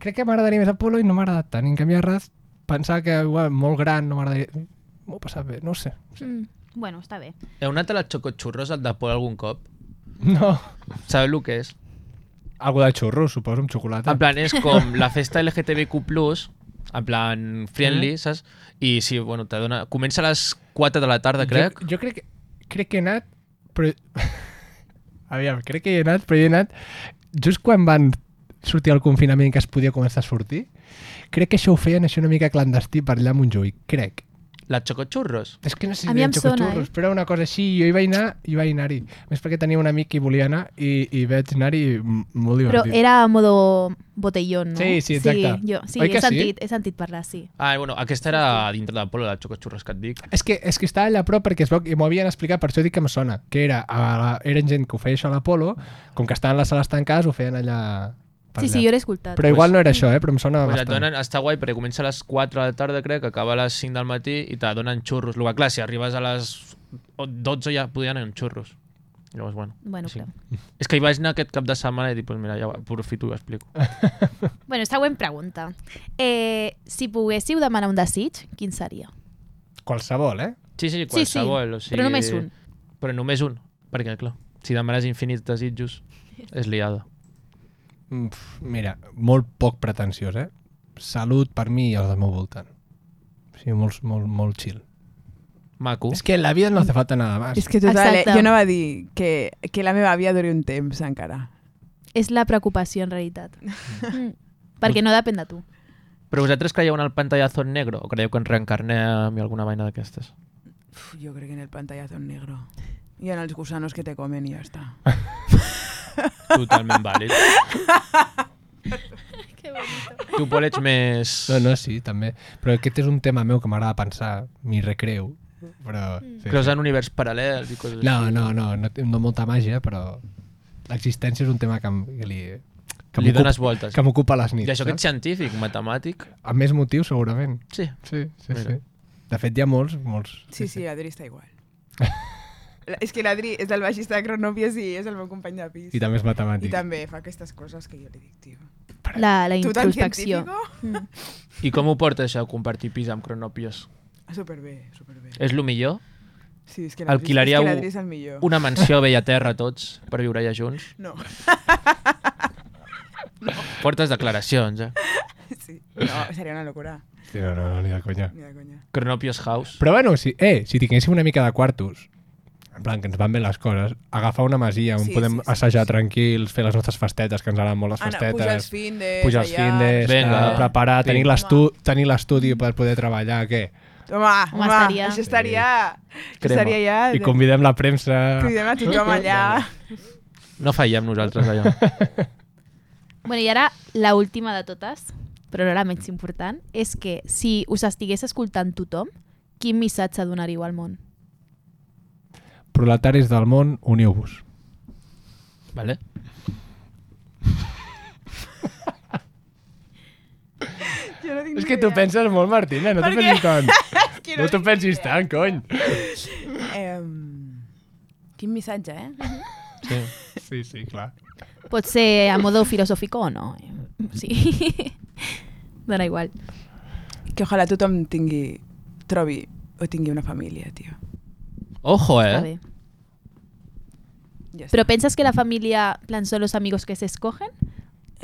Crec que m'agradaria més Apolo i no m'ha agradat tant. I en canvi a Raz, pensava que igual, molt gran no m'agradaria... M'ho he passat bé, no ho sé.
Mm, bueno, està bé.
Heu anat a la Xocotxurros al Dapol algun cop?
No.
Sabeu el que és?
Algo de xurro, suposo, amb xocolata.
En plan, és com la festa LGTBQ+, en plan friendly,
Mm.
saps? I sí, bueno, te dona... Comença a les 4 de la tarda, crec.
Jo, jo crec, que- crec que he anat, però... Aviam, crec que hi he anat, però hi he anat just quan van sortir al confinament que es podia començar a sortir. Crec que això ho feien això una mica clandestí per allà a Montjuïc, crec.
La Chocochurros.
És que no sé
A
si
mi em
eren
sona, eh?
xocotxurros, però era una cosa així, i jo hi vaig anar, i vaig anar-hi. Més perquè tenia un amic que hi volia anar, i, i vaig anar-hi i m- molt
Però
divertit.
era a modo botellón, no?
Sí, sí, exacte.
Sí, jo, sí,
Oi que
he,
sí?
sentit, he sentit parlar, sí.
Ah, bueno, aquesta era dintre del poble, la Chocochurros que et dic.
És que, és que estava allà a prop perquè es veu que m'ho havien explicat, per això dic que em sona, que era, a la, eren gent que ho feia això a l'Apolo, com que estaven les sales tancades, ho feien allà... per
Sí,
allà.
sí, jo l'he escoltat.
Però igual no era això, eh? però em sona
Pues et
bastant.
donen, està guai perquè comença a les 4 de la tarda, crec, que acaba a les 5 del matí i te donen xurros. Lo que, clar, si arribes a les 12 ja podien anar amb xurros. Llavors, bueno.
Bueno,
sí. És que hi vaig anar aquest cap de setmana i dic, pues mira, ja ho aprofito i ho explico.
Bueno, següent pregunta. Eh, si poguéssiu demanar un desig, quin seria?
Qualsevol, eh?
Sí, Pues sí, eh.
sí,
qualsevol. o sigui,
però només un.
Però només un, perquè, clar, si demanes infinits desitjos, és liada.
Mm, pf, Mira, molt poc pretensiós, eh? Salut per mi i els del meu voltant. Sí, molt, molt, molt chill.
Maco.
És que en la vida no hace falta nada más.
És que total, eh? jo no va dir que, que la meva àvia duri un temps encara.
És la preocupació, en realitat. Mm. Perquè no depèn de tu.
Però vosaltres creieu en el pantallazo en negro o creieu que ens reencarnem i alguna vaina d'aquestes?
Uf, yo creo que en el pantallazo en negro. Y en los gusanos que te comen y ya está.
Totalment vàlid. Tu, Pol, ets més...
No, no, sí, també. Però aquest és un tema meu que m'agrada pensar, m'hi recreo. Però... Sí,
Creus
sí.
en univers paral·lels i coses
No,
així.
no, no, no, té- no molta màgia, però l'existència és un tema que, em- que li... Que
Li
m'ocupa-
dones voltes.
Que m'ocupa les nits.
I això que ets
saps?
científic, matemàtic...
Amb més motius, segurament.
Sí.
Sí, sí,
Mira.
sí. De fet, hi ha molts, molts.
Sí, sí, Adri está igual. La- És que l'Adri és el baixista de Cronopios i és el meu company de pis.
I també és matemàtic.
I també fa aquestes coses que jo li dic, tio.
La, la
Tu tan
introspecció.
científico?
Mm.
I com ho porta això, compartir pis amb cronopios?
Ah, Superbé, superbé.
Eh,
És lo millor?
Sí, és que l'Adri-
Alquilaríeu
és que l'Adri és el millor.
una mansió a Bella Terra tots per viure allà junts?
No.
Portes declaracions, eh?
Sí. No, seria una locura.
Sí, no, no, no, ni de conya.
Ni de conya.
Cronopios House.
Però bueno, si, eh, si tinguéssim una mica de quartos, en plan que ens van bé les coses, agafar una masia on
Sí,
sí, podem
sí,
sí,
sí,
assajar sí, tranquils, fer les nostres festetes, que ens agraden molt les
Anar-
festetes.
pujar els findes,
Pujar els
allà.
findes,
Vinga.
eh, preparar,
Sí.
tenir l'estu- tenir l'estudi per poder treballar, què?
Home,
Home,
home,
estaria-
això estaria... Crema. Estaria allà...
I convidem la premsa.
Convidem a tothom allà.
No fallem nosaltres allà.
Bueno, i ara la última de totes, però no la menys important, és que si us estigués escoltant tothom, quin missatge donaríeu al món?
Proletaris del món, uniu-vos.
Vale?
Jo no tinc
És que tu penses molt, Martina, no t'ho pensis tant.
que
No t'ho pensis tant, cony.
Eh, quin missatge, eh?
Sí, sí, sí clar.
Pot ser a modo filosófico o no. eh? Sí. Dona
Eh?
igual.
Que ojalà tothom tingui, trobi o tingui una família, tio.
Ojo,
Està
eh?
bé. Però penses que la família, en plan, són els amics que s'escogen?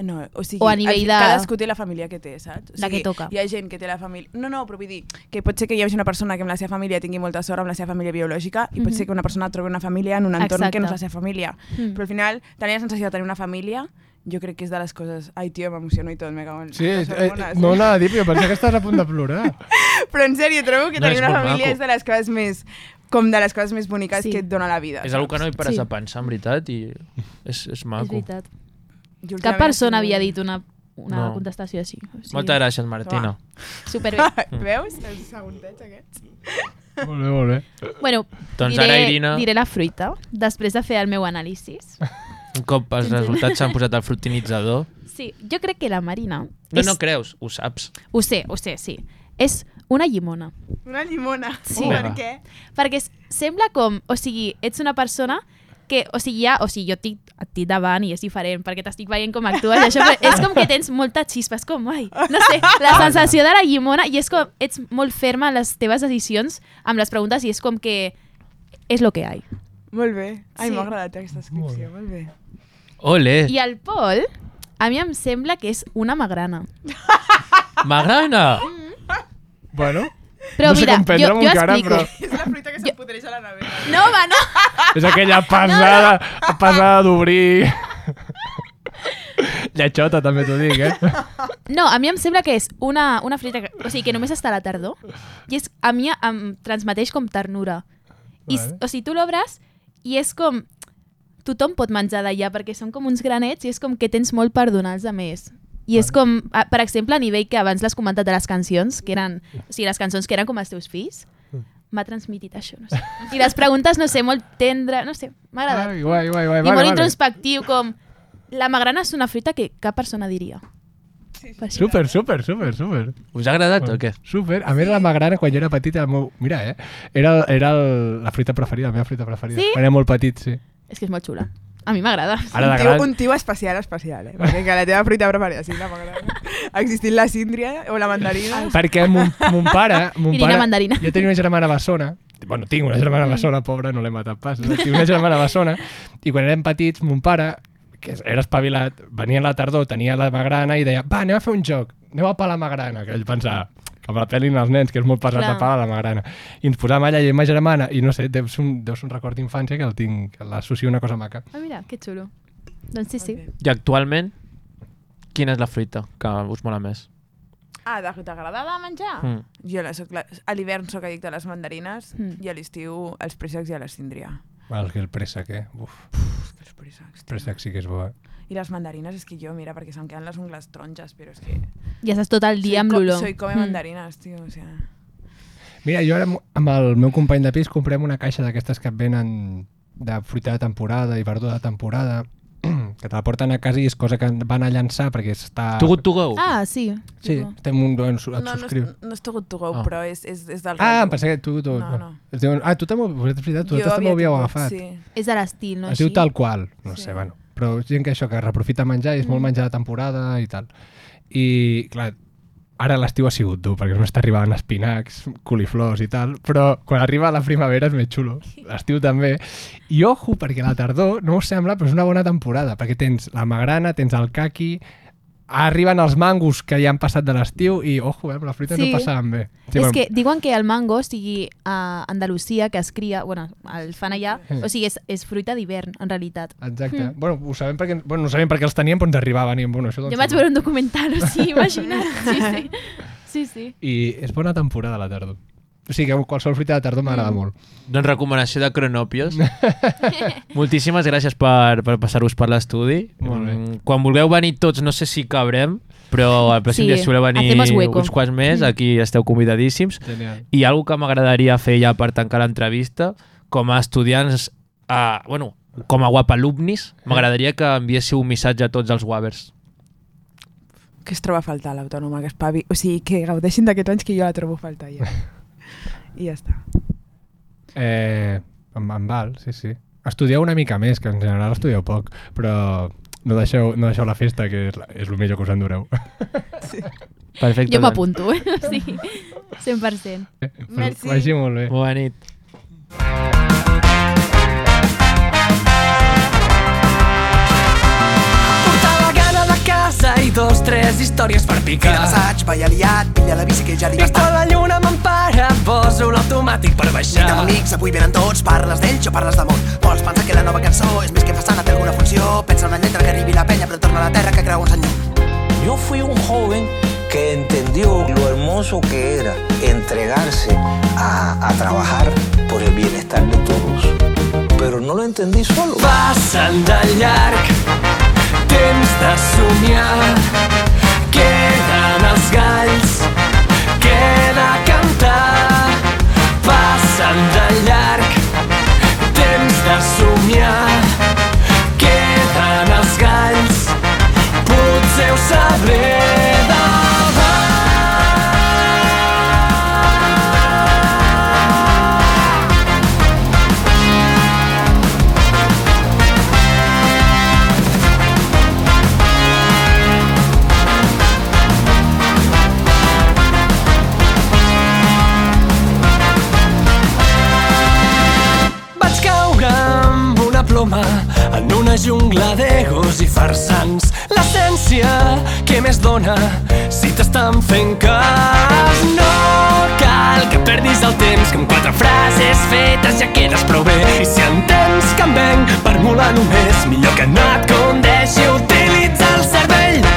No, o sigui,
O a nivell
al fi-
de-
cadascú té la família que té, saps? O
La que toca.
Hi ha gent que té la família... No, no, però vull dir que pot ser que hi hagi una persona que amb la seva família tingui molta sort amb la seva família biològica i pot
Mhm.
ser que una persona trobi una família en un entorn
Exacte.
que no és la seva família.
Mm.
Però al final, tenir la sensació de tenir una família jo crec que és de les coses... Ai, tio, m'emociono i tot, me cago en...
Sí,
les
eh,
hormones.
no anava a dir, però jo pensava que estàs a punt de plorar.
Però en sèrio, trobo que
No,
tenir
és
una
molt
família
maco.
és de les coses més com de les coses més boniques
Sí.
sí. que et dona la vida.
És una que no hi pares
Sí.
a pensar, en veritat, i és, és
És
maco.
veritat.
Jo
Cap
últimament
persona
estic-
havia dit una, una
No.
contestació així. O sigui,
Moltes gràcies, Martina.
Superbé.
Veus? Els segundets aquests.
Molt bé, molt bé.
Bueno,
Doncs
diré,
ara, Irina-
diré la fruita, després de fer el meu anàlisi.
Un cop els resultats s'han posat al frutinitzador...
Sí, jo crec que la Marina...
No,
és,
no creus, ho saps.
Ho sé, ho sé, sí. És una llimona.
Una llimona.
Sí.
Per què?
Perquè es- sembla com... O sigui, ets una persona que, o sigui, ja, o sigui, jo estic a ti davant i és diferent, perquè t'estic veient com actues i això, però és com que tens molta xispa, és com, ai, no sé, la
Ah,
sensació de la llimona i és com, ets molt ferma en les teves decisions amb les preguntes i és com que és lo que hi ha.
Molt bé. Ai,
Sí.
m'ha agradat aquesta descripció. Molt bé.
Eh.
Ole!
I el Pol, a mi em sembla que és una magrana.
M'agrada!
Bueno,
Però
no sé
mira,
com prendre-m'ho
jo, jo
encara,
explico.
però...
És la fruita que s'empodreix a la nevera.
No, va, no.
És aquella pesada, pesada d'obrir... Lletxota, també t'ho dic, eh?
No, a mi em sembla que és una, una fruita que, o sigui, que només està a la tardor i és, a mi em transmeteix com ternura. I, s-
Vale.
O sigui, tu l'obres i és com... Tothom pot menjar d'allà perquè són com uns granets i és com que tens molt per donar als altres. I és com, a- per exemple, a nivell que abans l'has comentat de les cançons, que eren, o sigui, les cançons que eren com els teus fills, m'ha transmitit això, no sé. I les preguntes, no sé, molt tendre, no sé, m'ha agradat.
Ai, guai, guai, guai.
I molt introspectiu, com... La magrana és una fruita que cap persona diria. Per això.
Super, super, super, super.
Us ha agradat o què?
Super. A més, la magrana, quan jo era petit, el meu... Mira, eh? Era, era el, la fruita preferida, la meva fruita preferida.
Sí?
Quan Era molt petit, sí.
És que és molt xula. A mi m'agrada.
Ara
un, tio,
t'agrada?
un tio especial, especial, eh? Perquè que la teva fruita preferida sigui la magrana. Ha existit la síndria o la mandarina.
Perquè mon, mon pare... Mon
Irina
pare
Mandarina. Mm.
Jo tenia una germana bessona. Bueno, tinc una germana bessona, pobra, no l'he matat pas. Tinc una germana bessona. I quan érem petits, mon pare, que era espavilat, venia a la tardor, tenia la magrana i deia, va, anem a fer un joc, anem a pelar magrana. Que ell pensava, que me la pelin els nens, que és molt pesat
Clar.
de pelar la magrana. I ens posàvem allà, i ma germana, i no sé, deu ser un, deu ser un record d'infància que el tinc, que l'associo a una cosa maca.
Ah, mira, que xulo. Doncs sí, sí.
I actualment, quina és la fruita que us mola més?
Ah, de fruita agradava menjar?
Mm.
Jo la soc, la, a l'hivern sóc addicte a les mandarines i a l'estiu als préssecs i a la síndria.
Val, que el préssec, eh? Uf.
Els préssecs.
El préssec sí que és bo, eh?
I les mandarines és que jo, mira, perquè se'm queden les ungles taronges, però és que...
Ja estàs tot el dia
Soy
amb
co-
l'olor.
Soy come
Mm.
mandarines, tio, o sea...
Mira, jo ara amb- amb el meu company de pis comprem una caixa d'aquestes que et venen de fruita de temporada i verdura de temporada que te la porten a casa i és cosa que van a llançar perquè està...
Too Good To Go.
Ah, sí.
Sí,
Too Good.
estem un... Bueno, su- et
No, no,
subscriu.
és- no és to good to go,
Ah.
però és, és, és del
ah,
rotllo.
em pensava que tu... tu
No, no.
Es diuen, ah, tu també, vosaltres, veritat, tu també ho havíeu agafat.
Sí.
És de l'estil, no?
es diu
Així.
tal qual, no sí. sé, bueno. Però gent que això, que reprofita menjar i és molt
Mm.
menjar de temporada i tal. I, clar, ara l'estiu ha sigut dur, perquè només t'arribaven espinacs, coliflors i tal, però quan arriba la primavera és més xulo. L'estiu també. I ojo, perquè la tardor, no us sembla, però és una bona temporada, perquè tens la magrana, tens el caqui, arriben els mangos que ja han passat de l'estiu i, ojo, eh, amb la fruita sí.
Sí.
no passaven bé.
Sí, és que diuen que el mango, o sigui, a Andalusia, que es cria, bueno, el fan allà,
Sí.
o sigui, és, és fruita d'hivern, en realitat.
Exacte.
Mm.
Mm. Bueno, ho sabem perquè, bueno, no sabem perquè els teníem, però ens arribaven. I, bueno, això doncs
Jo vaig veure un documental, o sigui, imagina't. Sí, sí. Sí, sí.
I és bona temporada la tardor. O sigui que qualsevol fruita de tardor m'agrada molt.
Doncs recomanació de Cronopios. Moltíssimes gràcies per, per passar-vos per l'estudi. Mm, Quan vulgueu venir tots, no sé si cabrem, però al pròxim
Sí,
dia si voleu venir
hacemos hueco. Mm.
uns quants més, aquí esteu convidadíssims.
Genial.
I algo que m'agradaria fer ja per tancar l'entrevista, com a estudiants, a, bueno, com a guapalumnis, m'agradaria que enviéssiu un missatge a tots els guavers.
Que es troba a faltar l'autònoma, que es pavi... O sigui, que gaudeixin d'aquests anys que jo la trobo a faltar ja. I ja està.
Eh, em, em val, sí, sí. Estudieu una mica més, que en general estudieu poc, però no deixeu, no deixeu la festa, que és, la, és el millor que us endureu.
Perfecte.
Jo m'apunto, eh? Sí, 100%.
Merci. Vagi molt bé.
Bona nit.
Portava gana de casa i dos, tres històries per picar.
Mira l'assaig, veia liat, pilla la bici que ja arriba
Visc a la lluna, m'empara, poso l'automàtic per baixar.
Vinga, amb amics, avui venen tots, parles d'ells o parles d'amor. Vols pensar que la nova cançó és més que façana, té alguna funció? Pensa en una lletra que arribi la penya, però torna a la terra que creu un senyor.
Yo fui un joven que entendió lo hermoso que era entregarse a, a trabajar por el bienestar de todos. Pero no lo entendí solo.
Passa el de llarg, temps de somiar. Queden els galls, queda cantar. Passa el de llarg, temps de somiar. Queden els galls, potser ho sabré demà. Vaig caure amb una ploma en una jungla d'egos i farsans. L'essència que més dona si t'estan fent cas. No cal que perdis el temps, que amb quatre frases fetes ja quedes prou bé. I si entens que em venc per molar només, millor que no et condeixi, utilitza el cervell.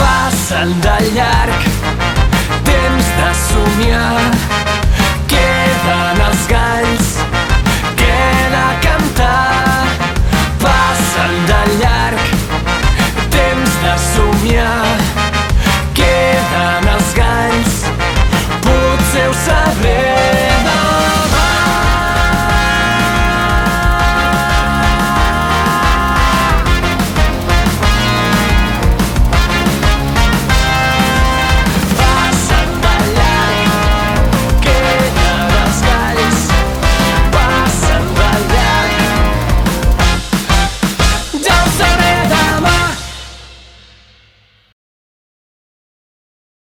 passant de llarg, temps de somiar